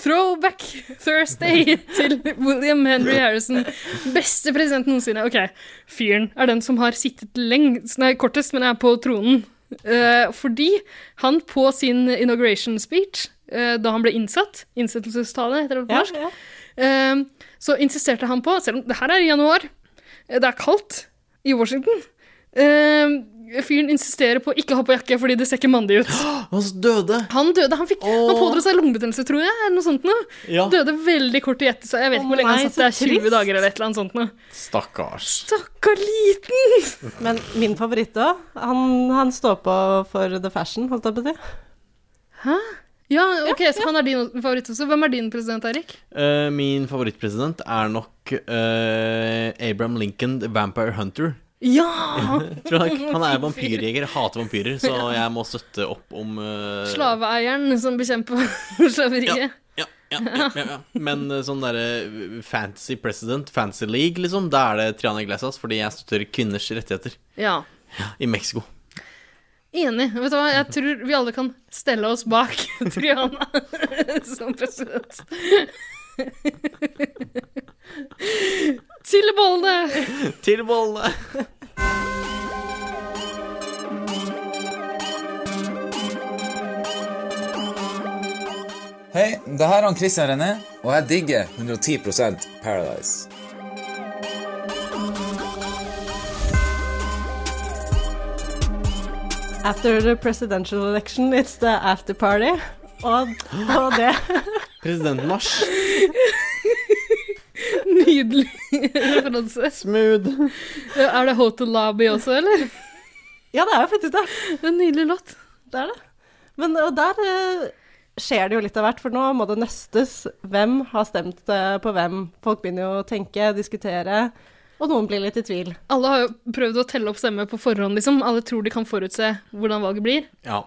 Throwback <laughs> Thursday til William Henry Harrison. Beste president noensinne. Ok, fyren er den som har sittet lengst, nei, kortest, men er på tronen. Eh, fordi han på sin inauguration speech, eh, da han ble innsatt, innsettelsestale heter det på Ja, norsk, ja. Eh, så insisterte han på, selv om det her er i januar, eh, det er kaldt i Washington, eh, fyren insisterer på å ikke ha på jakke fordi det ser ikke mandig ut. Han døde! Han døde, han, fikk, han Åh. pådro seg lungebetennelse, tror jeg, eller noe sånt nå. Ja. Døde veldig kort i ett, så jeg vet Å ikke hvor lenge nei, han satt der, så 20 trist. dager eller et eller annet sånt nå. Stakkars. Stakkar liten! Men min favoritt òg. Han, han står på for the fashion, holdt jeg på å si. Ja, ok, så han er din favoritt også. Hvem er din president, Erik? Eh, min favorittpresident er nok eh, Abraham Lincoln the Vampire Hunter. Ja! Tror jeg nok. Han er vampyrjeger, hater vampyrer, så jeg må støtte opp om eh, <laughs> Slaveeieren som bekjemper <laughs> slaveriet. Ja. Ja, ja, ja, ja, ja. Men eh, sånn derre fantasy president, fancy league, liksom, da er det Triana Iglesias, fordi jeg støtter kvinners rettigheter Ja. i Mexico. Enig. Vet du hva, jeg tror vi alle kan stelle oss bak <laughs> Triana som president. Til bollene! Til bolle! Hei, det her er han Christian René, og jeg digger 110 Paradise. After the presidential election, it's the after party. Og, og det <laughs> Presidentmarsj. Nydelig referanse. Smooth. Er det Hotel Lobby også, eller? Ja, det er jo faktisk det. Det er en nydelig låt. Det er det. Men og der eh, skjer det jo litt av hvert, for nå må det nøstes. Hvem har stemt eh, på hvem? Folk begynner jo å tenke, diskutere, og noen blir litt i tvil. Alle har jo prøvd å telle opp stemmer på forhånd, liksom. Alle tror de kan forutse hvordan valget blir. Ja.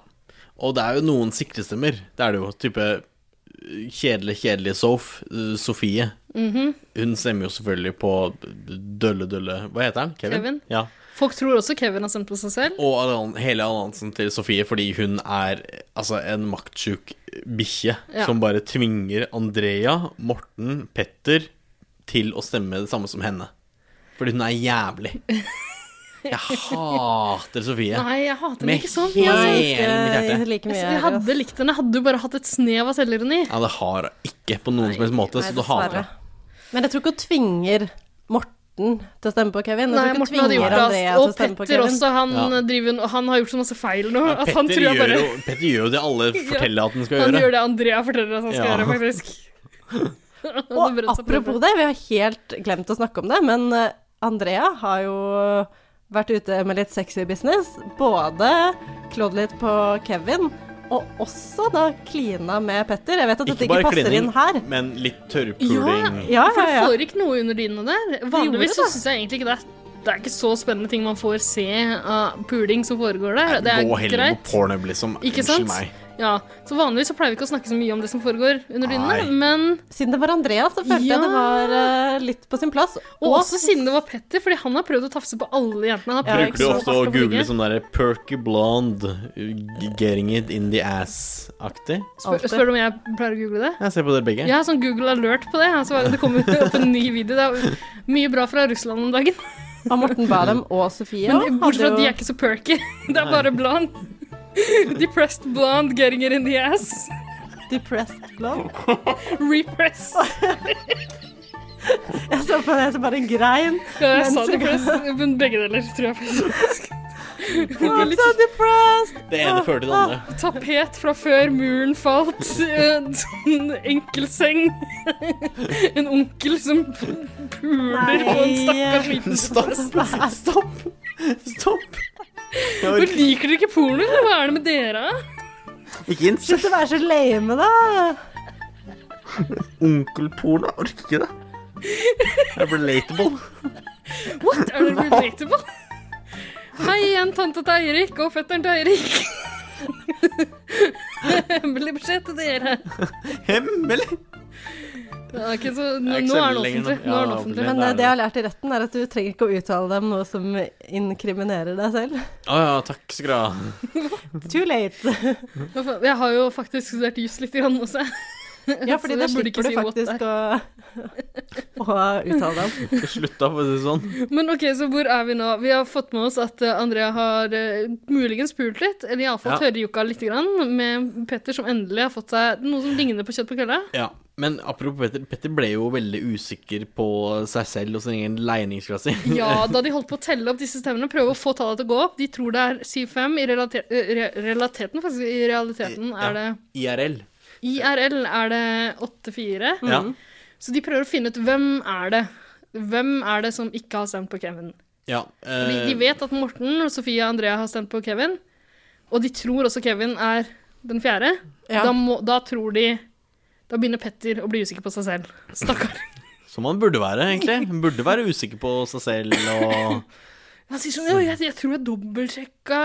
Og det er jo noen sikrestemmer. Det er det jo. Type eh, kjedelig, kjedelige Sof, eh, Sofie. Hun stemmer jo selvfølgelig på dølle, dølle Hva heter han? Kevin? Kevin. Ja. Folk tror også Kevin har stemt på seg selv. Og allian- hele alliansen til Sofie, fordi hun er eh, altså en maktsjuk bikkje Ja. som bare tvinger Andrea, Morten, Petter til å stemme det samme som henne. Fordi hun er <laughs> jævlig. Jeg hater Sofie. Nei, jeg hater henne Med ikke sånn. hele Jeg, mitt hjerte. Ikke like mye. jeg hadde Elias. likt henne, hadde jo bare hatt et snev av selvironi. Ja, det har hun ikke på noen som helst måte, Nei, så du hater dessverre. det. Men jeg tror ikke hun tvinger Morten til å stemme på Kevin. Jeg Nei, tror ikke hun Morten hadde gjort tvinger det. Andrea ass. til Og å stemme på Petter Kevin. også, han, Ja. driver, og han har gjort så masse feil nå. at han Petter, sånn tror jeg gjør bare jo, Petter gjør jo det <laughs> alle forteller at han skal Han gjøre. gjør det Andrea forteller at han skal Ja. gjøre, <laughs> faktisk. Han hadde Og brødd seg på det. apropos det, vi har helt glemt å snakke om det, men eh, Andrea har jo vært ute med litt sexy business. Både klådd litt på Kevin, og også da klina med Petter. Jeg vet at dette Ikke ikke bare passer klining, inn her. men litt Ja, tørrpuling. Ja, For det ja, ja. foregikk noe under dyna der. Vanligvis så det. syns jeg egentlig ikke det. er- Det er ikke så spennende ting man får se av puling som foregår der. Det Gå er heller på greit. porno, liksom. Ikke Unnskyld sant? meg. Ja, så vanligvis så pleier vi ikke å snakke så mye om det som foregår under Nei. dynene, men Siden det var Andreas, så følte Ja. jeg det var eh, litt på sin plass. Og også siden det var Petter, fordi han har prøvd å tafse på alle jentene. Han har Ja, prøvd Bruker ikke du så ofte hardt å å google ligge. sånn derre perky blonde, g- getting it in the ass-aktig? Spør, spør du om jeg pleier å google det? Jeg ser på dere begge. Jeg har sånn Google alert på det. Altså, det kommer opp en ny video. Det er mye bra fra Russland om dagen. <laughs> Og Morten Barem og Sofie Men eh, hadde bortsett fra at de jo er ikke så perky. <laughs> Det er bare blond. <laughs> Depressed blonde getting it in the ass. depressed glow. Repress. Jeg så på det som bare en grein. Ja, jeg sa Men så- depressed, men begge deler, tror jeg faktisk. Det var I'm litt sånn so depressed! Det ene fører til det andre. Tapet fra før muren falt. En sånn enkelseng. <laughs> En onkel som puler på en stakkars liten Nei, stopp! Ah, <laughs> Stopp! Jeg Men orker liker dere ikke porno? eller Hva er det med dere? ikke Slutt incest. å være så lame, da! Onkelporno. Jeg orker ikke det. Det er relatable. What? Er dere relatable? Hei igjen, tante til Eirik og fetteren til Eirik. Hemmelig beskjed til dere. Hemmelig! Det er ikke så, Det nå, er ikke nå er så den hemmelig lenger offentlig. nå. Nå er den offentlig. Men Det er eh, det. det jeg har lært i retten, er at du trenger ikke å uttale deg om noe som inkriminerer deg <laughs> selv. Å Ah, ja, takk skal du ha. Too late. Hva faen, Jeg har jo faktisk studert juss litt grann også. <laughs> Ja, Så fordi det jeg burde ikke slipper du si what det faktisk å, å <laughs> uttale deg om. Jeg Slutta, for å si det sånn. Men ok, så hvor er vi nå? Vi har fått med oss at eh, Andrea har eh, muligens pult litt, eller iallfall Ja. tørrjokka litt, grann, med Petter som endelig har fått seg noe som ligner på kjøtt på kølla. Ja, men apropos Petter. Petter ble jo veldig usikker på seg selv og sin egen legningsklasse. <laughs> Ja, da de holdt på å telle opp disse stemmene, prøve å få tallet til å gå opp. De tror det er 7-5. I relater eh, re realiteten, faktisk, i realiteten er det Ja, IRL. IRL er det 8-4. Ja. Så de prøver å finne ut hvem er det. Hvem er det som ikke har stemt på Kevin? ja. eh, Fordi de vet at Morten og Sofie og Andrea har stemt på Kevin, og de tror også Kevin er den fjerde. Ja. Da, må, da tror de Da begynner Petter å bli usikker på seg selv. Stakkar. Som han burde være, egentlig. Han burde være usikker på seg selv og Han sier sånn «Ja, jeg, jeg tror jeg dobbeltsjekka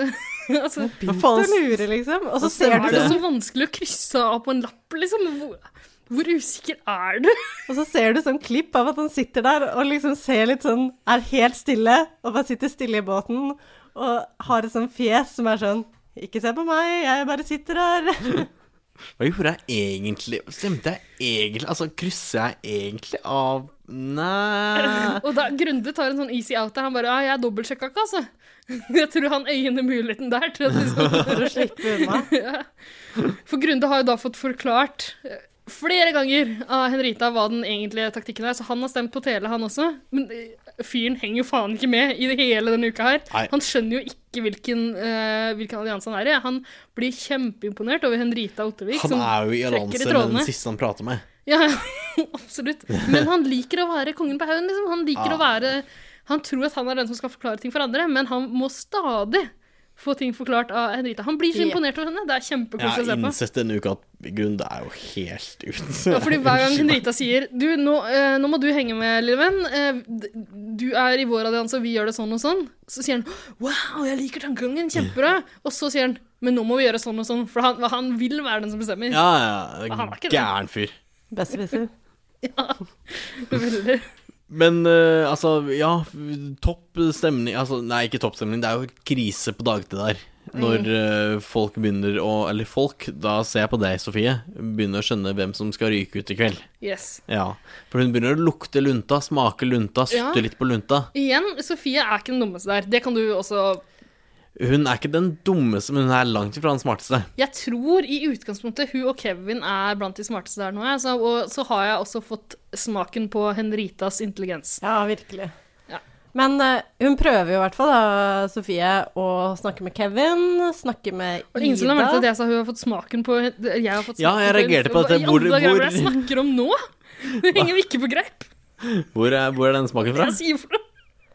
<laughs> altså, Hva faen? Du lurer, liksom. Og så ser Er du, det det. så vanskelig å krysse av på en lapp, liksom? Hvor, hvor usikker er <laughs> du? og så ser du sånn klipp av at han sitter der og liksom ser litt sånn Er helt stille, og bare sitter stille i båten og har et sånn fjes som er sånn Ikke se på meg, jeg bare sitter her. <laughs> Hva gjorde jeg egentlig? Stemte jeg egentlig? Altså, krysser jeg egentlig av Nei Og da Grunde tar en sånn easy out der. Han bare Ja, jeg dobbeltsjekka ikke, altså. <laughs> Jeg tror han øyner muligheten der. Til at liksom, <laughs> For å slippe unna. For Grunde har jo da fått forklart eh, flere ganger av Henrita hva den egentlige taktikken er, så han har stemt på Tele, han også. Men eh, fyren henger jo faen ikke med i det hele denne uka her. Nei. Han skjønner jo ikke hvilken, eh, hvilken allianse han er i. Han blir kjempeimponert over Henrita Ottervik. Han som er jo i sånn trekker allianse med trådene. den siste han prater med. Ja, <laughs> absolutt. Men han liker å være kongen på haugen, liksom. Han liker å være Han tror at han er den som skal forklare ting for andre, men han må stadig få ting forklart av Henrita. Han blir så Ja. imponert over henne. Det er Jeg har kjempekoselig å se på. innsett denne uka at Grunn det er jo helt uten Ja, fordi Hver <laughs> gang Henrita sier du, nå, eh, 'Nå må du henge med, lille venn. Eh, d- du er i vår allianse, og vi gjør det sånn og sånn', så sier han 'Wow, jeg liker tankegangen. Kjempebra'. Og så sier han 'Men nå må vi gjøre sånn og sånn', for han, han vil være den som bestemmer. Ja, ja, Han var ja. ikke det. Gæren fyr. Besserwisser. <laughs> Veldig. Men eh, altså, ja, topp stemning altså, Nei, ikke topp stemning, det er jo krise på dagtid der. Når Mm. eh, folk begynner å Eller folk, da ser jeg på deg, Sofie, begynner å skjønne hvem som skal ryke ut i kveld. Yes. Ja. For hun begynner å lukte lunta, smake lunta, Ja. sutte litt på lunta. Igjen, Sofie er ikke den dummeste der. Det kan du også Hun er ikke den dummeste, men hun er langt ifra den smarteste. Jeg tror i utgangspunktet hun og Kevin er blant de smarteste der nå. jeg, Så, og så har jeg også fått smaken på Henritas intelligens. Ja, virkelig. Ja. Men eh, hun prøver jo i hvert fall, da, Sofie, å snakke med Kevin, snakke med Og ingen som har merket at Ida. jeg sa hun har fått smaken på jeg har fått smaken Ja, jeg reagerte på Hva dette. i Hvor- alle dager er det jeg hvor- snakker om nå? Det henger jo ikke på greip. Hvor er, hvor er den smaken fra? Jeg sier for noe.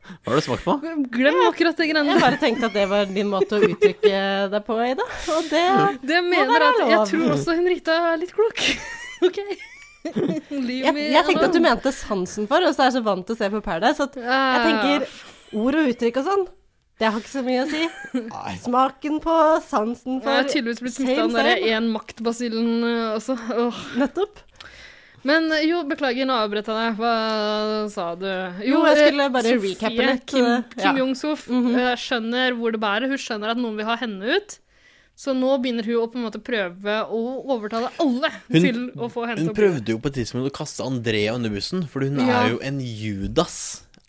Hva har du smakt på? Glem akkurat det greiene Jeg <laughs> der. bare tenkte at det var din måte å uttrykke deg på, Ida. Og det Det jeg mener være at jeg lov. tror også Henrita er litt klok. <laughs> OK. jeg, jeg tenkte at du Eh, mente sansen for, og så er jeg så vant til å se på Paradise at jeg tenker ord og uttrykk og sånn. Det har ikke så mye å si. Nei. Smaken på sansen Jeg for har tydeligvis blitt smitta Same, av den derre same. én maktbasillen eh, også. Åh. Nettopp. Men eh, jo, beklager, nå avbrøt jeg deg. Hva sa du? Jo, jeg eh, skulle bare Sofie recappe litt, Kim, eh, ja. Kim Jong-sof eh, skjønner hvor det bærer. Hun skjønner at noen vil ha henne ut. Så nå begynner hun å på en måte prøve å overtale alle Hun- til å få henne Hun til å bli prøvde jo på et tidspunkt å kaste Andrea under bussen, for hun Ja. er jo en Judas.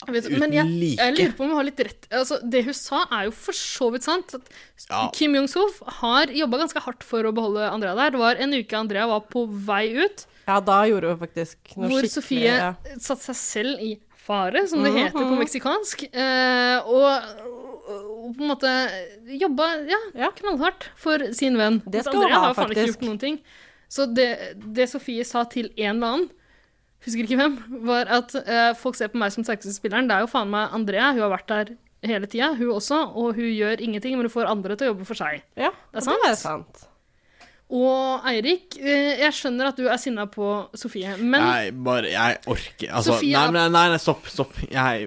Jeg vet, Uten men jeg, like. jeg lurer på om hun har litt rett. Altså, det hun sa, er jo for så vidt sant. At Ja. Kim Jong-sof har jobba ganske hardt for å beholde Andrea der. Det var en uke Andrea var på vei ut, Ja, da gjorde hun faktisk noe hvor skikkelig Sofie ja. Mhm, satte seg selv i fare, som det heter på meksikansk, eh, og, og på en måte jobba ja, Ja. knallhardt for sin venn. Det Mens skal hun Andrea ha, har jo faen ikke faktisk. gjort noen ting. Så det, det Sofie sa til en eller annen husker ikke hvem, var at eh, folk ser på meg som sexespilleren. Det er jo faen meg Andrea. Hun har vært der hele tida, hun også, og hun gjør ingenting, men hun får andre til å jobbe for seg. Ja, Det er og sant. Det er sant. Og Eirik, eh, jeg skjønner at du er sinna på Sofie, men Nei, bare Jeg orker altså, Sofia- nei, nei, nei, nei, stopp, stopp. Jeg, jeg,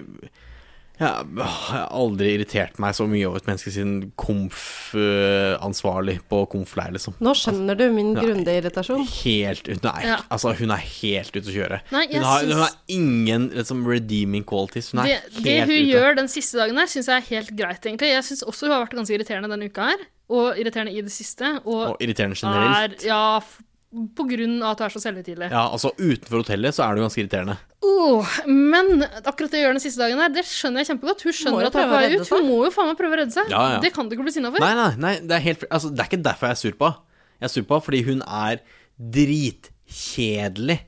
åh, jeg har aldri irritert meg så mye over et menneske siden komf-ansvarlig på komf-leir, liksom. Nå skjønner du min Nei. grundige irritasjon. Helt ut, nei, Ja. altså, hun er helt ute å kjøre. Nei, jeg hun, har, hun syns- har ingen liksom, redeeming qualities. Hun er det, helt det hun ute. gjør den siste dagen her, syns jeg er helt greit, egentlig. Jeg syns også hun har vært ganske irriterende denne uka her, og irriterende i det siste. Og, Og irriterende generelt. er Ja, f- på grunn av at hun er så selvhøytidelig. Ja, altså Utenfor hotellet så er du ganske irriterende. Åh, men akkurat det hun gjør den siste dagen her, det skjønner jeg kjeempegodt. Hun Må skjønner jo at hun er på prøve å vei redde ut. Hun seg. må jo faen meg prøve å redde seg. Ja, ja. Det kan du ikke bli sinna for. Nei, nei, nei det, er helt, altså, det er ikke derfor jeg er sur på henne. Jeg er sur på henne fordi hun er dritkjedelig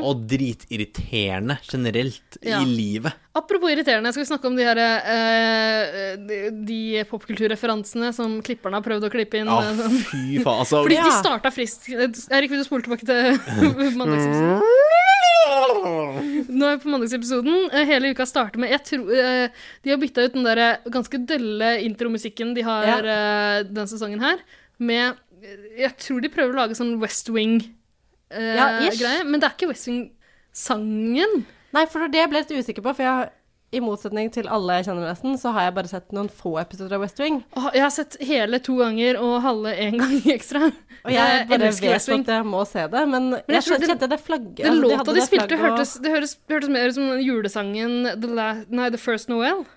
og dritirriterende generelt Mhm. Ja. i livet. Apropos irriterende, skal vi snakke om de her eh, de, de popkulturreferansene som klipperne har prøvd å klippe inn? Å, eh, sånn. fy faen. Altså Fordi de Ja. starta friskt. Erik, vil du spole tilbake til <laughs> mandagsepisoden? Nå er vi på mandagsepisoden. Eh, Hele uka starter med jeg tror, eh, De har bytta ut den der eh, ganske dølle intromusikken de har Ja. eh, den sesongen her, med eh, Jeg tror de prøver å lage sånn West Wing-greie, Ja, ish. men det er ikke West Wing-sangen. Nei, for det ble jeg litt usikker på, for jeg, i motsetning til alle jeg kjenner nesten, så har jeg bare sett noen få episoder av West Wing. Åh, Jeg har sett hele to ganger og halve én gang <laughs> ekstra. Og jeg bare elsker vet West Wing. at jeg må se det, men, jeg jeg, tror det- kjente det flagget. Den altså, låta hadde de det spilte, flagget hørtes, det høres, hørtes mer ut som den julesangen The, La nei, The First Noel. og-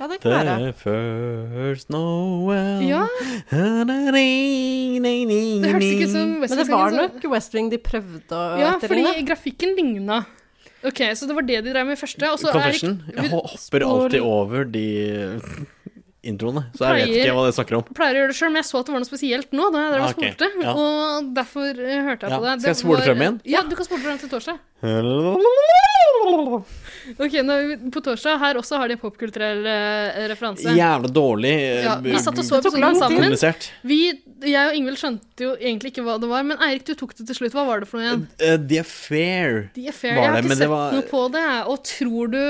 Ja, det kan være. The first Noel Mm. Ja, det Det hørtes ikke ut som Men det Western var sangen, så- nok West Wing de prøvde å Ja, etterligne. fordi grafikken ligna. OK, så det var det de drev med første. Og så Confession. Erik, Jeg vil- hopper alltid over de eh, introene, så jeg vet Pleier- ikke hva dere snakker om. pleier å gjøre det sjøl, men jeg så at det var noe spesielt nå. Da jeg drev og Ah, ok, spolte, ja. og derfor eh, hørte jeg Ja, på det. skal Det jeg spole var- frem igjen? Ja, du kan spole frem til torsdag. Ok, nå, er vi På torsdag her også har de en popkulturell eh, referanse. Jævla dårlig. eh, Ja, vi satt og så tok episoden lang tid. sammen. Kommunisert. Vi, jeg og Ingvild skjønte jo egentlig ikke hva det var, men Eirik, du tok det til slutt. Hva var det for noe igjen? Eh, The Affair. The Affair, Var Jeg har det, ikke men det sett var- noe på det. jeg. Og tror du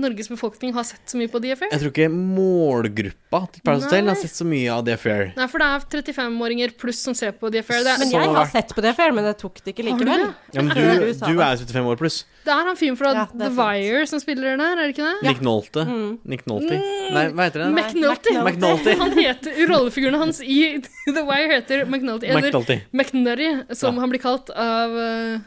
Norges befolkning har sett så mye på The Affair? Jeg tror ikke målgruppa til Paradise Hotel har Nei. sett så mye av The Affair. Nei, for det er 35-åringer pluss som ser på The Affair. Det Men er, Så- jeg har har vært- sett på det før, men jeg tok det ikke Har du likevel. det? Ja, men du, <laughs> Før du sa er det. 75 år pluss. det er han fyren fra Ja, det The er sant. Wire som spiller den der, er det ikke det? Nick Nolte. Mm. Nick Nolte. Nei, hva heter det? McNulty. Nei, McNulty. Han heter, Rollefiguren hans i <laughs> The Wire heter McNulty. Eller McNulty. McNurry, som Ja. han blir kalt av eh,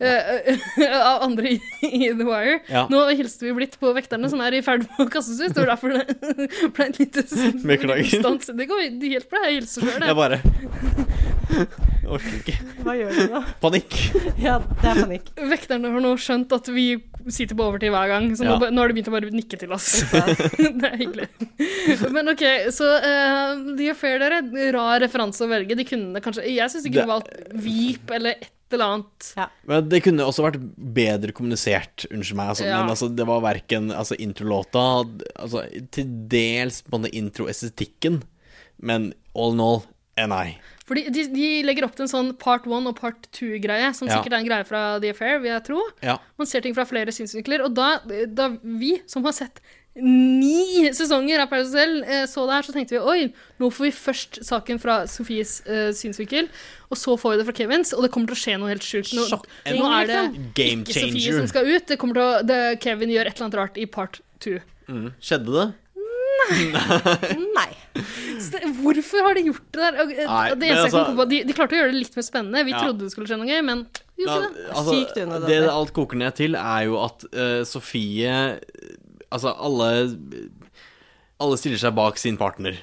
eh, <laughs> av andre i, i The Wire. Ja. Nå hilste vi blitt på vekterne som er i ferd med å kastes ut. Det var derfor det <laughs> ble en liten s- Beklager. liten stans. Det går helt bra. Jeg hilser sjøl, Jeg jeg. bare <laughs> Orker ikke. Hva gjør du nå? <laughs> Panikk. Ja, det er <laughs> panikk. Vekterne har nå skjønt at vi sitter på overtid hver gang, så nå, Ja. ba- nå har de begynt å bare nikke til <laughs> oss. Så det er hyggelig. Men OK, så eh, The Affair, dere. Rar referanse å velge. De kunne kanskje Jeg syns de kunne Det- valgt Veep eller et eller annet. Men det kunne også vært bedre kommunisert, unnskyld meg. Altså, Ja. Men altså, det var verken altså, introlåta altså, Til dels på en måte introestetikken, men all in all eh, nei. Fordi de, de legger opp til en sånn part one og part two-greie, som Ja. sikkert er en greie fra The Affair, vil jeg tro. Ja. Man ser ting fra flere synsvinkler. Og da, da vi som har sett ni sesonger av Paradise Hotel, eh, så det her, så tenkte vi oi, nå får vi først saken fra Sofies eh, synsvinkel, og så får vi det fra Kevins, og det kommer til å skje noe helt sjukt. Nå, Sjokking, nå er det Game ikke Sofie changer. som skal ut, det kommer til å det, Kevin gjør et eller annet rart i part two. Skjedde det? Nei. Så det- Hvorfor har de gjort det der? Og, eh, Nei, det eneste men jeg altså- kan komme på, de, de klarte å gjøre det litt mer spennende. Vi Ja. trodde det skulle skje noe gøy, men de gjorde ikke det. altså, Sykt unødvendig. Det det alt koker ned til, er jo at eh, Sofie eh, Altså, alle Alle stiller seg bak sin partner.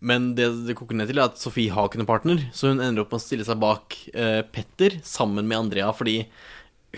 Men det det koker ned til, er at Sofie har ikke noen partner, så hun ender opp med å stille seg bak eh, Petter sammen med Andrea, fordi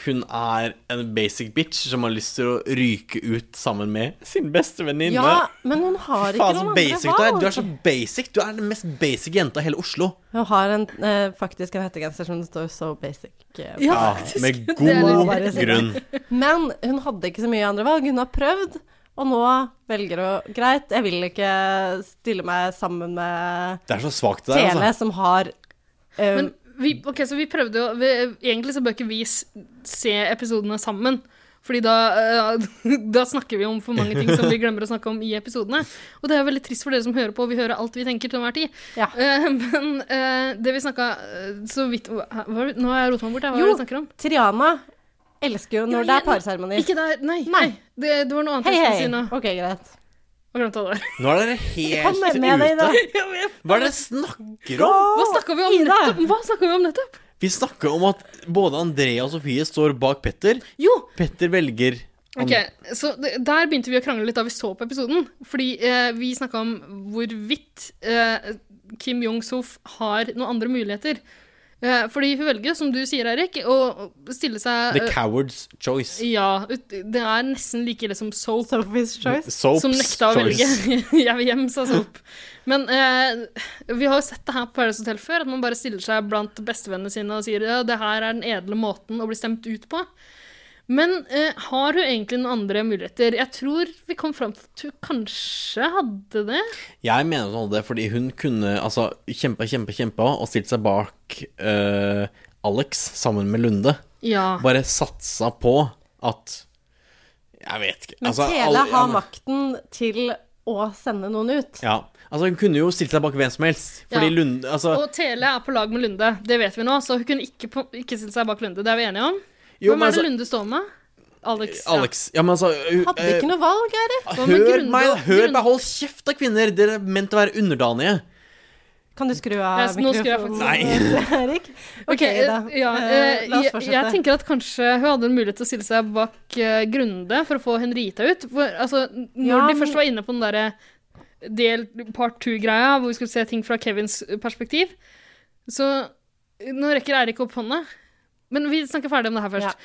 hun er en basic bitch som har lyst til å ryke ut sammen med sin beste venninne. Ja, men hun har ikke Faen, så noen basic du andre er. valg. Du er så basic. Du er den mest basic jenta i hele Oslo. Hun har en, eh, faktisk en hettegenser som det står 'so basic' eh, Ja, Ja, faktisk. med Det er litt- Må bare god si det. grunn. Men hun hadde ikke så mye andre valg. Hun har prøvd, og nå velger hun Greit, jeg vil ikke stille meg sammen med Det er så svakt det der, Tele, altså. som har eh, Men vi, ok, så vi prøvde jo vi, Egentlig så bør ikke vi s- se episodene sammen. Fordi da, eh, <laughs> da snakker vi om for mange ting som vi glemmer å snakke om i episodene. Og det er jo veldig trist for dere som hører på, og vi hører alt vi tenker til enhver tid. Ja. <laughs> Eh, men eh, det vi snakka så vidt hva, hva- Nå har jeg rota meg bort, jeg. Hva er Jo, det vi snakker om? Triana elsker jo når det Ja, er ja, parseremoni. Ikke der, nei. nei. Nei. Det, det var noe annet Hei, jeg skulle hei. si nå. Ok, greit. Jeg glemte hva det var. Nå er dere helt Kom med, med deg, <laughs> da. ute. Hva er det dere snakker om? Hva snakka vi om Ida. nettopp? Hva snakket vi om nettopp? Vi snakker om at både Andrea og Sofie står bak Petter. Jo, Petter velger Ok, så det, Der begynte vi å krangle litt da vi så på episoden. Fordi eh, vi snakka om hvorvidt eh, Kim Jong-sof har noen andre muligheter. Eh, fordi hun velger, som du sier, Eirik, å stille seg The Coward's Choice. eh, Ja, ut- det er nesten like ille som Soap, Sophie's choice. Soaps som nekta å velge. <laughs> Choice. Jeg vil hjem, sa Soap. Men eh, vi har jo sett det her på Paradise Hotel før, at man bare stiller seg blant bestevennene sine og sier ja, det her er den edle måten å bli stemt ut på. Men eh, har hun egentlig noen andre muligheter? Jeg tror vi kom fram til at hun kanskje hadde det. Jeg mener sånn at hun hadde det fordi hun kunne altså, kjempa, kjempa, kjempa og stilt seg bak eh, Alex sammen med Lunde. Ja. Bare satsa på at Jeg vet ikke. Men altså, Tele alle- ja, har men- makten til å sende noen ut. Ja. Altså, hun kunne jo stilt seg bak hvem som helst. Fordi Ja. Lunde altså, Og Tele er på lag med Lunde, det vet vi nå, så hun kunne ikke, på, ikke stille seg bak Lunde. Det er vi enige om. Jo, Hvem men er det altså- Lunde står med? Alex. ja. Alex Ja, men altså hun- Hadde eh, ikke noe valg, Eirik. Hva med Hør Grunde- meg, da, hør Grunde- meg, hold kjeft da, kvinner! Dere er ment til å være underdanige. Kan du skru Ja, av så nå skrur jeg mikrofonen, faktisk- Eirik? Ok, eh, da. Ja, Eh, eh, La oss jeg, fortsette. jeg tenker at kanskje hun hadde en mulighet til å stille seg bak eh, Grunde for å få Henrita ut. For, altså, n- når Ja, de men- først var inne på den derre del part two-greia, hvor vi skulle se ting fra Kevins eh, perspektiv, så eh, Nå rekker Eirik opp hånda. Men vi snakker ferdig om det her først.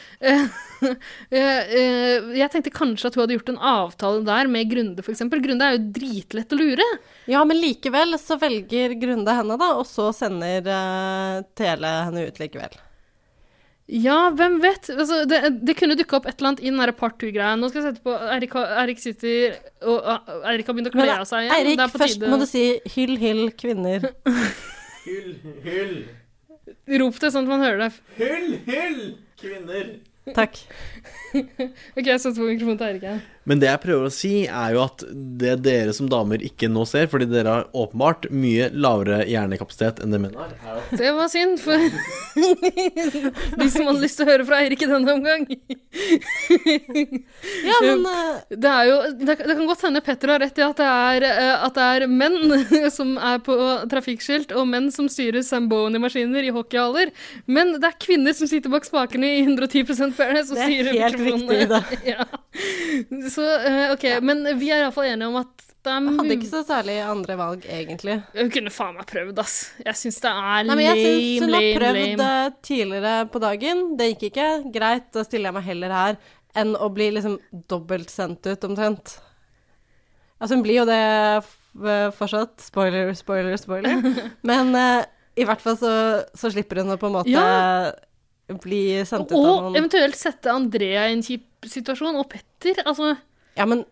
<laughs> Eh, eh, jeg tenkte kanskje at hun hadde gjort en avtale der med Grunde, f.eks. Grunde er jo dritlett å lure. Ja, men likevel så velger Grunde henne, da, og så sender eh, Tele henne ut likevel. Ja, hvem vet? Altså, det, det kunne dukka opp et eller annet i den der part 2-greia. Nå skal jeg sette på Eirik har- Eirik sitter og og Eirik har begynt å kle Men av seg igjen. Eirik, det er på først tide. må du si hyll, hyll, kvinner. Hyll, hyll, Rop det sånn at man hører det. hyll, hyll, kvinner. <laughs> Takk. OK, jeg setter på mikrofonen til Eirik igjen. Men det jeg prøver å si, er jo at det dere som damer ikke nå ser, fordi dere har åpenbart mye lavere hjernekapasitet enn det menn har, er at Det var synd <laughs> for <laughs> de som hadde lyst til å høre fra Eirik i denne omgang. Ja, men eh, Det, er jo, det, det kan godt hende Petter har rett i at det er, eh, at det er menn <laughs> som er på trafikkskilt, og menn som styrer Samboni-maskiner i hockeyhaller. Men det er kvinner som sitter bak spakene i 110 Fairness og <laughs> Det er styrer helt riktig, <laughs> da. ja. Så eh, OK, men vi er iallfall enige om at det er hadde ikke mulig så særlig andre valg, egentlig. Hun kunne faen meg prøvd, ass. Jeg syns det er Nei, men jeg syns lame, hun har lame, prøvd lame. eh, tidligere på dagen. Det gikk ikke. Greit, da stiller jeg meg heller her enn å bli liksom dobbelt sendt ut, omtrent. Altså, hun blir jo det f- eh, fortsatt. Spoiler, spoiler, <laughs> spoiler. Men eh, i hvert fall så, så slipper hun å på en måte Ja. bli sendt ut av Og noen eventuelt sette Andrea i en kjip situasjon, og Petter. Altså Ja, men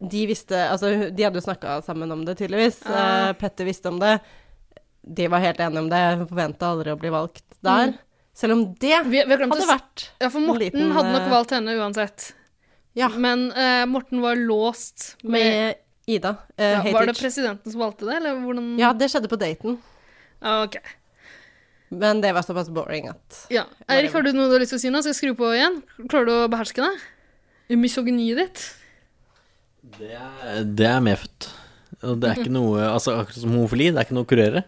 de visste Altså, de hadde jo snakka sammen om det, tydeligvis. Ja. Eh, Petter visste om det. De var helt enige om det. Hun forventa aldri å bli valgt der. Selv om det Mm. vi, vi har glemt å hadde s- vært Ja, for en Morten liten, hadde nok eh, valgt henne uansett. Ja. Ah. Men eh, Morten var låst med, med Ida. ja, Uh, Var det presidenten som valgte det, eller hvordan ja, det skjedde på daten, Ah, ok. men det var såpass boring at Ja. Eirik, har du noe du har lyst til å si nå? Skal jeg skru på igjen? Klarer du å beherske det? Misogyniet ditt? det er, det er medfødt. Og det er ikke noe Altså, akkurat som homofili, det er ikke noe å kurere.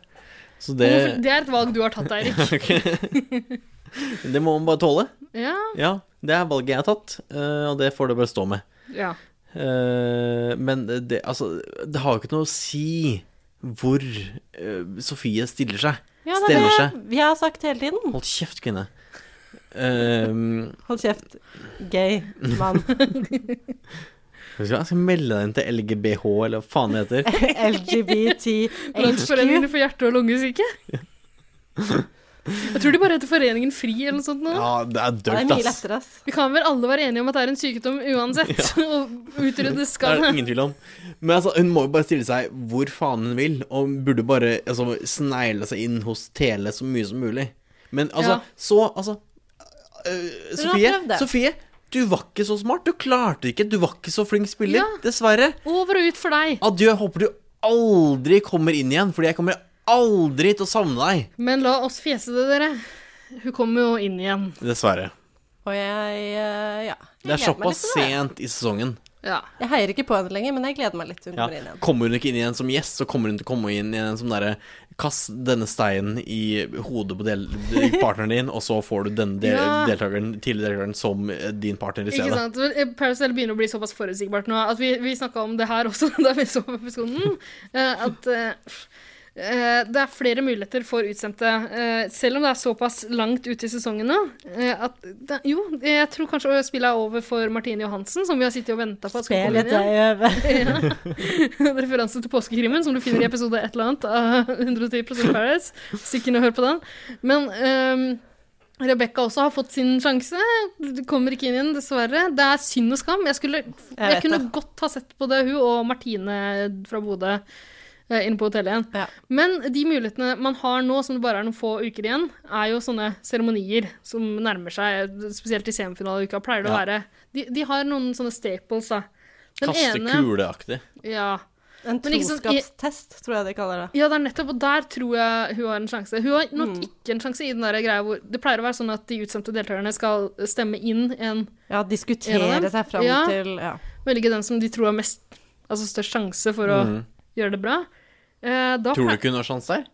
Så det Hvorfor- Det er et valg du har tatt, Eirik. <laughs> Ok. <laughs> Det må man bare tåle. Ja. Ja, det er valget jeg har tatt, eh, og det får det bare stå med. ja. Eh, Men det, altså, det har jo ikke noe å si hvor eh, Sofie stiller seg. Ja, det Stemmer er seg. det vi har sagt hele tiden. Hold kjeft, kvinne. Eh, Hold kjeft, gay mann. <laughs> Skal vi se, Jeg skal melde deg inn til LGBH, eller hva faen det heter. <laughs> LGBTHQ. Landsforeningen for hjerte- og <laughs> lungesyke. Jeg tror de bare heter Foreningen Fri eller noe sånt nå. Ja, det er Det er dølt, mye ass. lettere, ass. Vi kan vel alle være enige om at det er en sykdom uansett, <laughs> og utryddes Det er skal det den. ingen tvil om. Men altså, hun må jo bare stille seg hvor faen hun vil, og burde bare altså, snegle seg inn hos Tele så mye som mulig. Men altså, Ja. så Altså øh, Hun har Sofie, prøvd det. Sofie, du var ikke så smart. Du klarte ikke. Du var ikke så flink spiller. Ja. Dessverre. Over og ut for deg. Adjø. Jeg Håper du aldri kommer inn igjen, fordi jeg kommer aldri til å savne deg. Men la oss fjese det, dere. Hun kommer jo inn igjen. Dessverre. Og jeg eh, Det ja. Jeg er gleder meg såpass litt til det. sent i sesongen. Ja. Jeg heier ikke på henne lenger, men jeg gleder meg litt til hun Ja. kommer inn igjen. Kommer hun ikke inn igjen som gjest, så kommer hun til å komme inn igjen som derre Kast denne steinen i hodet på del partneren din, og så får du denne del Ja. deltakeren, tidligere deltakeren som eh, din partner i Ikke stedet. sant? Men Paradise Hotel begynner å bli såpass forutsigbart nå at vi, vi snakka om det her også <laughs> da vi så på <laughs> episoden. eh, At eh, eh, det er flere muligheter for utsendte, eh, selv om det er såpass langt ut i sesongen nå. eh, At det, jo, jeg tror kanskje spillet er over for Martine Johansen, som vi har sittet og venta på at skal Spel komme litt inn igjen. øye. Ja. <laughs> Referanse til påskekrimmen, som du finner i episode et eller annet av 110 Paradise. Stikk inn og hør på den. Men ehm, Rebekka også har fått sin sjanse. Du kommer ikke inn igjen, dessverre. Det er synd og skam. Jeg, skulle, jeg, vet kunne det. godt ha sett på det, hun og Martine fra Bodø eh, inne på hotellet igjen. Ja. Men de mulighetene man har nå, som det bare er noen få uker igjen, er jo sånne seremonier som nærmer seg, spesielt i semifinaleuka, pleier det å Ja. være. De, de har noen sånne staples, da. Den Kaste ene- kuleaktig. ja. En Men ikke sånn- troskapstest, tror jeg de kaller det. ja, det er nettopp, og der tror jeg hun har en sjanse. Hun har nok ikke en sjanse i den der greia hvor Det pleier å være sånn at de utsendte deltakerne skal stemme inn en En Ja, av diskutere dem? seg fram Ja. til ja. Velge den som de tror har mest Altså størst sjanse for å gjøre det bra. Eh, da Tror du pleier- ikke hun har sjans der?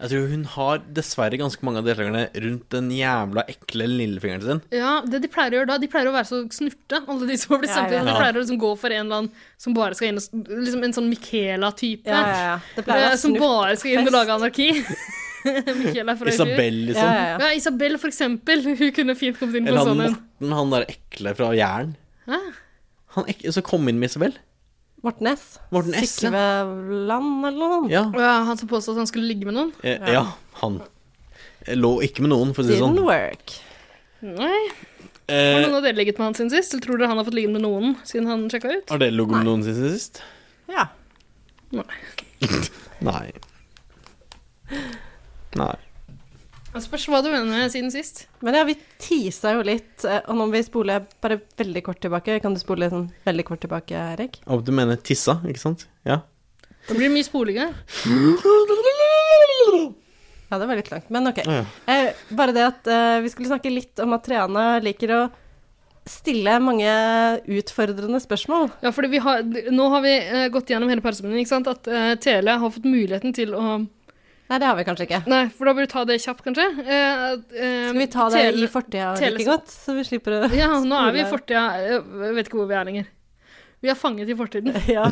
Jeg tror hun har dessverre ganske mange av deltakerne rundt den jævla ekle lillefingeren sin. Ja, det de pleier å gjøre da, de pleier å være så snurte, alle de som har blitt Ja, sendt inn. ja. og De Ja. pleier å liksom gå for en eller annen som bare skal inn og s- Liksom en sånn Michaela-type. Ja, ja, ja. Det pleier å eh, være som snutt. bare skal inn og lage anarki. <laughs> <laughs> Michaela fra Isabel. Isabel, Ja, liksom. ja, ja. Ja, Isabel, for eksempel. Hun kunne fint kommet inn på Eller en han sånn en. Morten, han der ekle fra Jæren. Hæ? Han ek som kom inn med Isabel. Morten S. Morten S, ja. Sikveland eller noe. Ja. Å Ja, han som påstod at han skulle ligge med noen? Eh, ja, han lå ikke med noen, for å si det sånn. Didn't work. Nei. Har Eh, noen av dere ligget med han siden sist? Eller tror dere han har fått ligge med noen siden han sjekka ut? har dere ligget med noen siden sist? Ja. Nei. Nei. Jeg spørs Altså, hva du mener med siden sist. Men ja, vi tisa jo litt, eh, og nå må vi spole bare veldig kort tilbake. Kan du spole sånn veldig kort tilbake, Erik? Og du mener tissa, ikke sant? Ja. Det blir mye spolinge. Ja, det var litt langt, men ok. Ja. Eh, bare det at eh, vi skulle snakke litt om at Triana liker å stille mange utfordrende spørsmål. Ja, fordi vi har, nå har vi eh, gått gjennom hele parseremonien, ikke sant? At eh, Tele har fått muligheten til å Nei, det har vi kanskje ikke. Nei, for da bør du ta det kjapt, kanskje. Eh, at, eh, Skal vi ta det Tele- i fortida tele- like godt, så vi slipper å Ja, nå er vi i spole. fortida. eh, Jeg vet ikke hvor vi er lenger. Vi er fanget i fortiden. <laughs> Ja.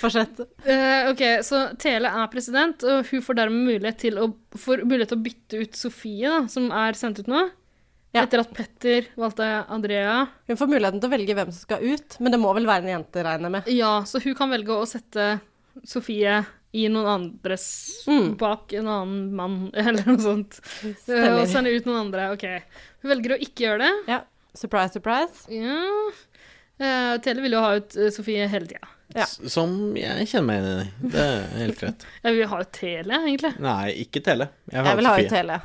Fortsett. Eh, ok, så Tele er president, og hun får dermed mulighet til å, får mulighet til å bytte ut Sofie, da, som er sendt ut nå. Ja. Etter at Petter valgte Andrea. Hun får muligheten til å velge hvem som skal ut, men det må vel være en jente, regner jeg med. Ja, så hun kan velge å sette Sofie i noen andres Mm. Bak en annen mann, <laughs> eller noe sånt. Eh, og Stemmer. sende ut noen andre. Ok. Hun velger å ikke gjøre det. Ja. Surprise, surprise. Ja. Eh, Tele vil jo ha ut eh, Sofie hele tida. Ja. S- Som jeg kjenner meg igjen i. Det er helt greit. Jeg vil ha ut Tele, egentlig. Nei, ikke Tele. Jeg Jeg vil ha ut Sofie. hele.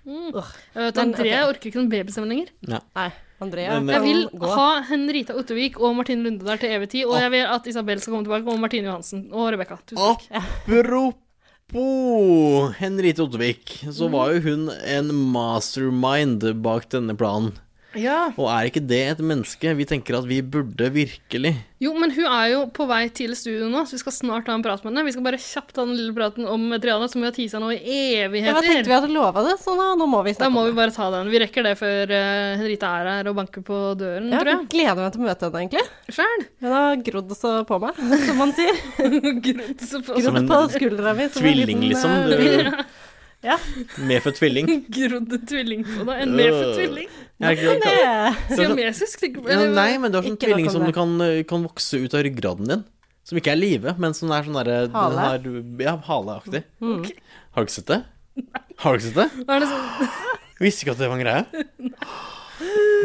Jeg vet, Men, Eh, Andrea ok. orker ikke noen babystemning lenger. Nei, Andrea Men, eh, Jeg kan vil gå. ha Henrita Ottervik og Martine Lunde der til evig tid, og jeg vil at Isabel skal komme tilbake, og Martine Johansen og Rebekka. Tusen takk. Apropos Henriette Ottervik, så var jo hun en mastermind bak denne planen. Ja. Og er ikke det et menneske vi tenker at vi burde virkelig? Jo, men hun er jo på vei til studio nå, så vi skal snart ha en prat med henne. Vi skal bare kjapt ha den lille praten om Triana, som vi har teasa nå i Ja, men tenkte evigheter. vi hadde lova det, så nå, nå må vi Da snakke må vi om det. bare ta den. Vi rekker det før eh, Henrita er her og banker på døren, Ja, tror jeg gleder meg til å møte henne, egentlig. jeg. <laughs> Sjæl. Hun har grodd så på meg, som man sier. <laughs> Grått så på- Som en Grodd på skuldra mi. som en Tvilling, liten, liksom. eh, Du, <laughs> Ja. medfødt <laughs> tvilling. Grodd en tvilling på deg. En medfødt Øh. tvilling. Jeg er ikke- Det- Siamesisk, tenker Ja, jeg. nei, men du har sånn eh, Ikke nok tvilling om som det. du kan, eh, kan vokse ut av ryggraden din. Som ikke er live, men som er sånn derre den Hale. Mm. har- Ja, haleaktig. Har du ikke sett det? Har du ikke sett det? Er det sånn? Visste ikke at det var en <laughs> greie.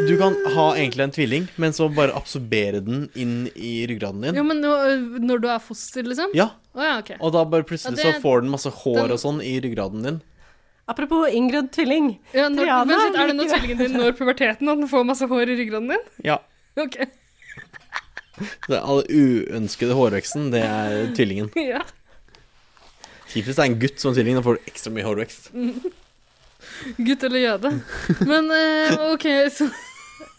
Du kan ha egentlig en tvilling, men så bare absorbere den inn i ryggraden din. Ja, men nå- eh, når du er foster, liksom? Ja, Å ja, OK. og da bare plutselig Ja, det- så får den masse hår den- og sånn i ryggraden din. Apropos inngrodd tvilling. Ja, når, Triana vent litt, er det når liker- tvillingen din når puberteten, at den får masse hår i ryggraden din? Ja. <laughs> OK. Det er all uønskede hårveksten, det er tvillingen. Ja. Kjipt hvis det er en gutt som er tvilling, da får du ekstra mye hårvekst. Gutt eller jøde. Men eh, OK, så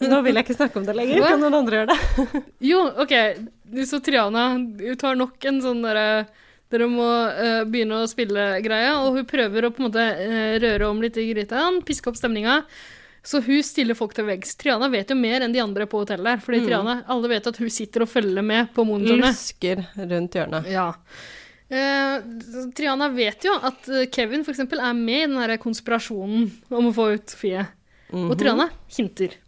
Nå vil jeg ikke snakke om det lenger. Hva? Kan noen andre gjøre det? Jo, OK. Så Triana hun tar nok en sånn derre dere må eh, begynne å spille greia, og hun prøver å på en måte eh, røre om litt i gryta, piske opp stemninga. Så hun stiller folk til veggs. Triana vet jo mer enn de andre på hotellet der, fordi Triana, alle vet at hun sitter og følger med på monitorene. Lusker rundt hjørnet. Ja. Eh, Triana vet jo at eh, Kevin for eksempel er med i den der konspirasjonen om å få ut Sofie. Mhm. Og Triana hinter.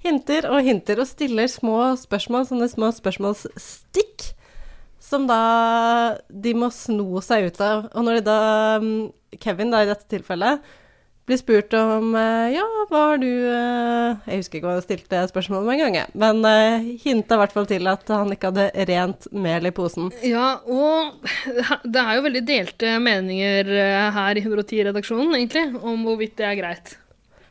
Hinter og hinter og stiller små spørsmål, sånne små spørsmålsstikk, som da de må sno seg ut av. Og når de da, mm, Kevin da i dette tilfellet, blir spurt om eh, ja, hva har du eh, Jeg husker ikke hva jeg stilte spørsmål om engang, jeg, men eh, hinta i hvert fall til at han ikke hadde rent mel i posen. Ja, og det er jo veldig delte meninger eh, her i 110-redaksjonen, egentlig, om hvorvidt det er greit.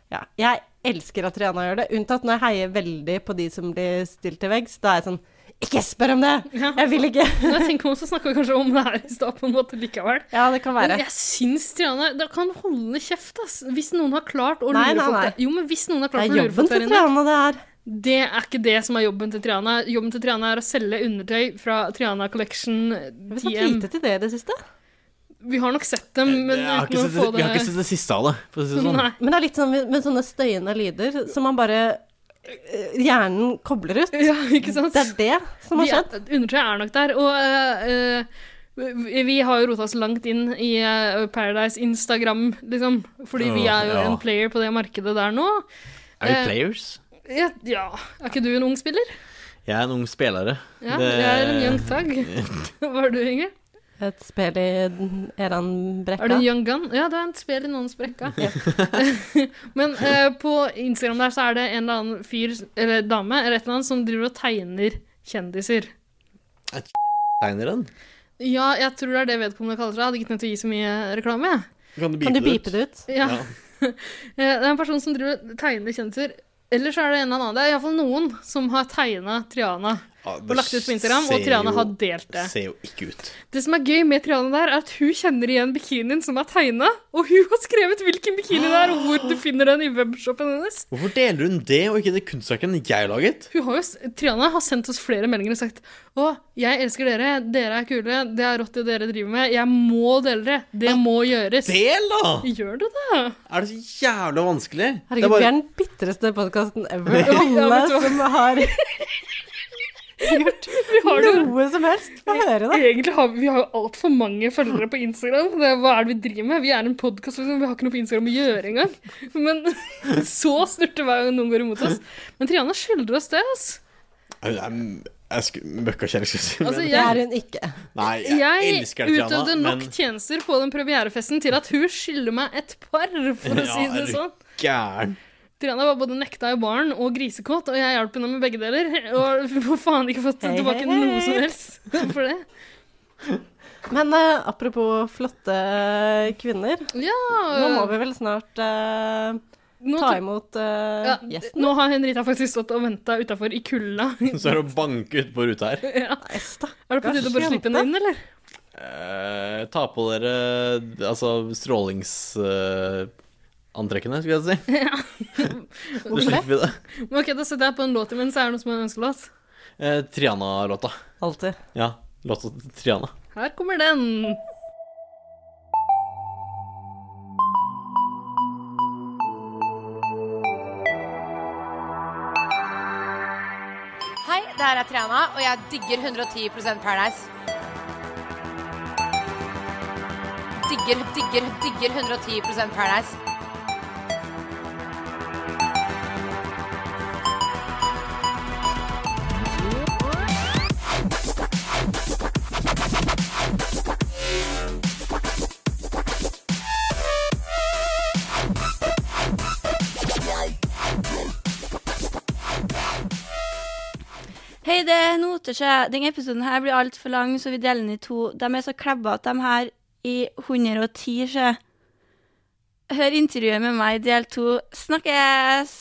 Ja, jeg elsker at Rihanna gjør det, unntatt når jeg heier veldig på de som blir stilt til veggs. Da er jeg sånn Ikke spør om det! Ja. Jeg vil ikke! Men jeg tenker meg om, så snakker vi kanskje om det her i stad på en måte likevel. Ja, det kan Men være. jeg syns Triana da kan holde kjeft, ass. Hvis noen har klart å Nei, lure nei, folk nei. der. Jo, men hvis noen har Det klart er å lure folk jobben der til inne Triana, det her. Det er ikke det som er jobben til Triana. Jobben til Triana er å selge undertøy fra Triana Collection Vi har fått TM. lite til det i det siste. Vi har nok sett dem, men Jeg har ikke uten å sett få det- Vi det har ikke sett det siste av det, for å si det sånn. Nei. <laughs> Men det er litt sånn med med sånne støyende lyder som man bare eh, Hjernen kobler ut. Ja, ikke sant? Det er det som har De er- skjedd. Undertøyet er nok der. Og eh, eh, vi- vi har jo rota oss langt inn i eh, Paradise Instagram, liksom. Fordi vi Ja, er jo ja. en player på det markedet der nå. Er vi Eh, players? Ja, ja. Er ikke du en ung spiller? Jeg er en ung spillere. Ja, Det- jeg er en young thug. <laughs> Hva er du, Inger? Et spill i Eran Brekka. Er du en young gun? Ja, du er en spel i noen sprekka. <laughs> Men eh, på Instagram der så er det en eller annen fyr, eller dame, eller et eller annet, som driver og tegner kjendiser. Tegner den? Ja, jeg tror det er det vedkommende kaller seg. Jeg hadde ikke nødt til å gi så mye reklame. jeg. Kan du Kan du bipe det ut? Ja. Eh, det er en person som driver og tegner kjendiser. Eller så er det en eller annen. Det er iallfall noen som har tegna Triana Ja, og lagt det ut på Instagram, ser og Triana jo- har delt det. Ser jo ikke ut. Det som er gøy med Triana der, er at hun kjenner igjen bikinien som er tegna, og hun har skrevet hvilken bikini det er, og hvor du finner den i webshopen hennes. Hvorfor deler hun det, og ikke det kunstverket jeg laget? Hun har jo, s- Triana har sendt oss flere meldinger og sagt Å, jeg elsker dere, dere er kule, det er rått det dere driver med, jeg må dele det, det må gjøres. Del, da! Gjør du det? Er det så jævla vanskelig? Det er Herregud, vi er bare, den bitreste podkasten ever. <laughs> Ja, Alle vet du hva? som har gjort har det. noe som helst, få høre det. Egentlig har vi vi har jo altfor mange følgere på Instagram. Det, er- hva er det vi driver med? Vi er en podkast, liksom. vi har ikke noe på Instagram å gjøre engang. Men <laughs> så snurter hver gang noen går imot oss. Men Triana skylder oss det, ass. Au, det er- jeg skulle møkkakjæreste, skulle Altså, jeg si, Det jeg, er hun ikke. men Nei, jeg, jeg elsker deg, Triana, utøvde nok men tjenester på den premierefesten til at hun skylder meg et par, for å Ja, si er det du sånn. gæren. Triana var både nekta i baren og grisekåt, og jeg hjalp henne med begge deler. Og vi får faen ikke fått Hei, tilbake hei, hei. noe som helst for det. Men eh, apropos flotte kvinner, Ja, nå må vi vel snart eh, nå ta tok- imot eh, Ja, gjesten. nå har Henrita faktisk stått og venta utafor i kulda. <laughs> Så er det å banke utpå ruta her. ja. Nei, stakkars Er det på tide å bare jente. slippe henne inn, eller? Eh, ta på dere altså strålings... eh, antrekkene, skulle jeg si. Da Hvorfor det? slipper vi det. Men ok, Da setter jeg på en låt imens. Er det noen som har en ønskelåt? Eh, Triana-låta. Alltid. Ja, låta til Triana. Her kommer den. Hei, det her er Triana, og jeg digger 110 Paradise. Digger, digger, digger 110 Paradise. Hei, det er Notesjø. Denne episoden her blir altfor lang, så vi deler den i to. De er så klebba at de her i 110 sjø. Hør intervjuet med meg i del to. Snakkes!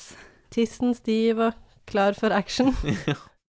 Tissen stiv og klar for action.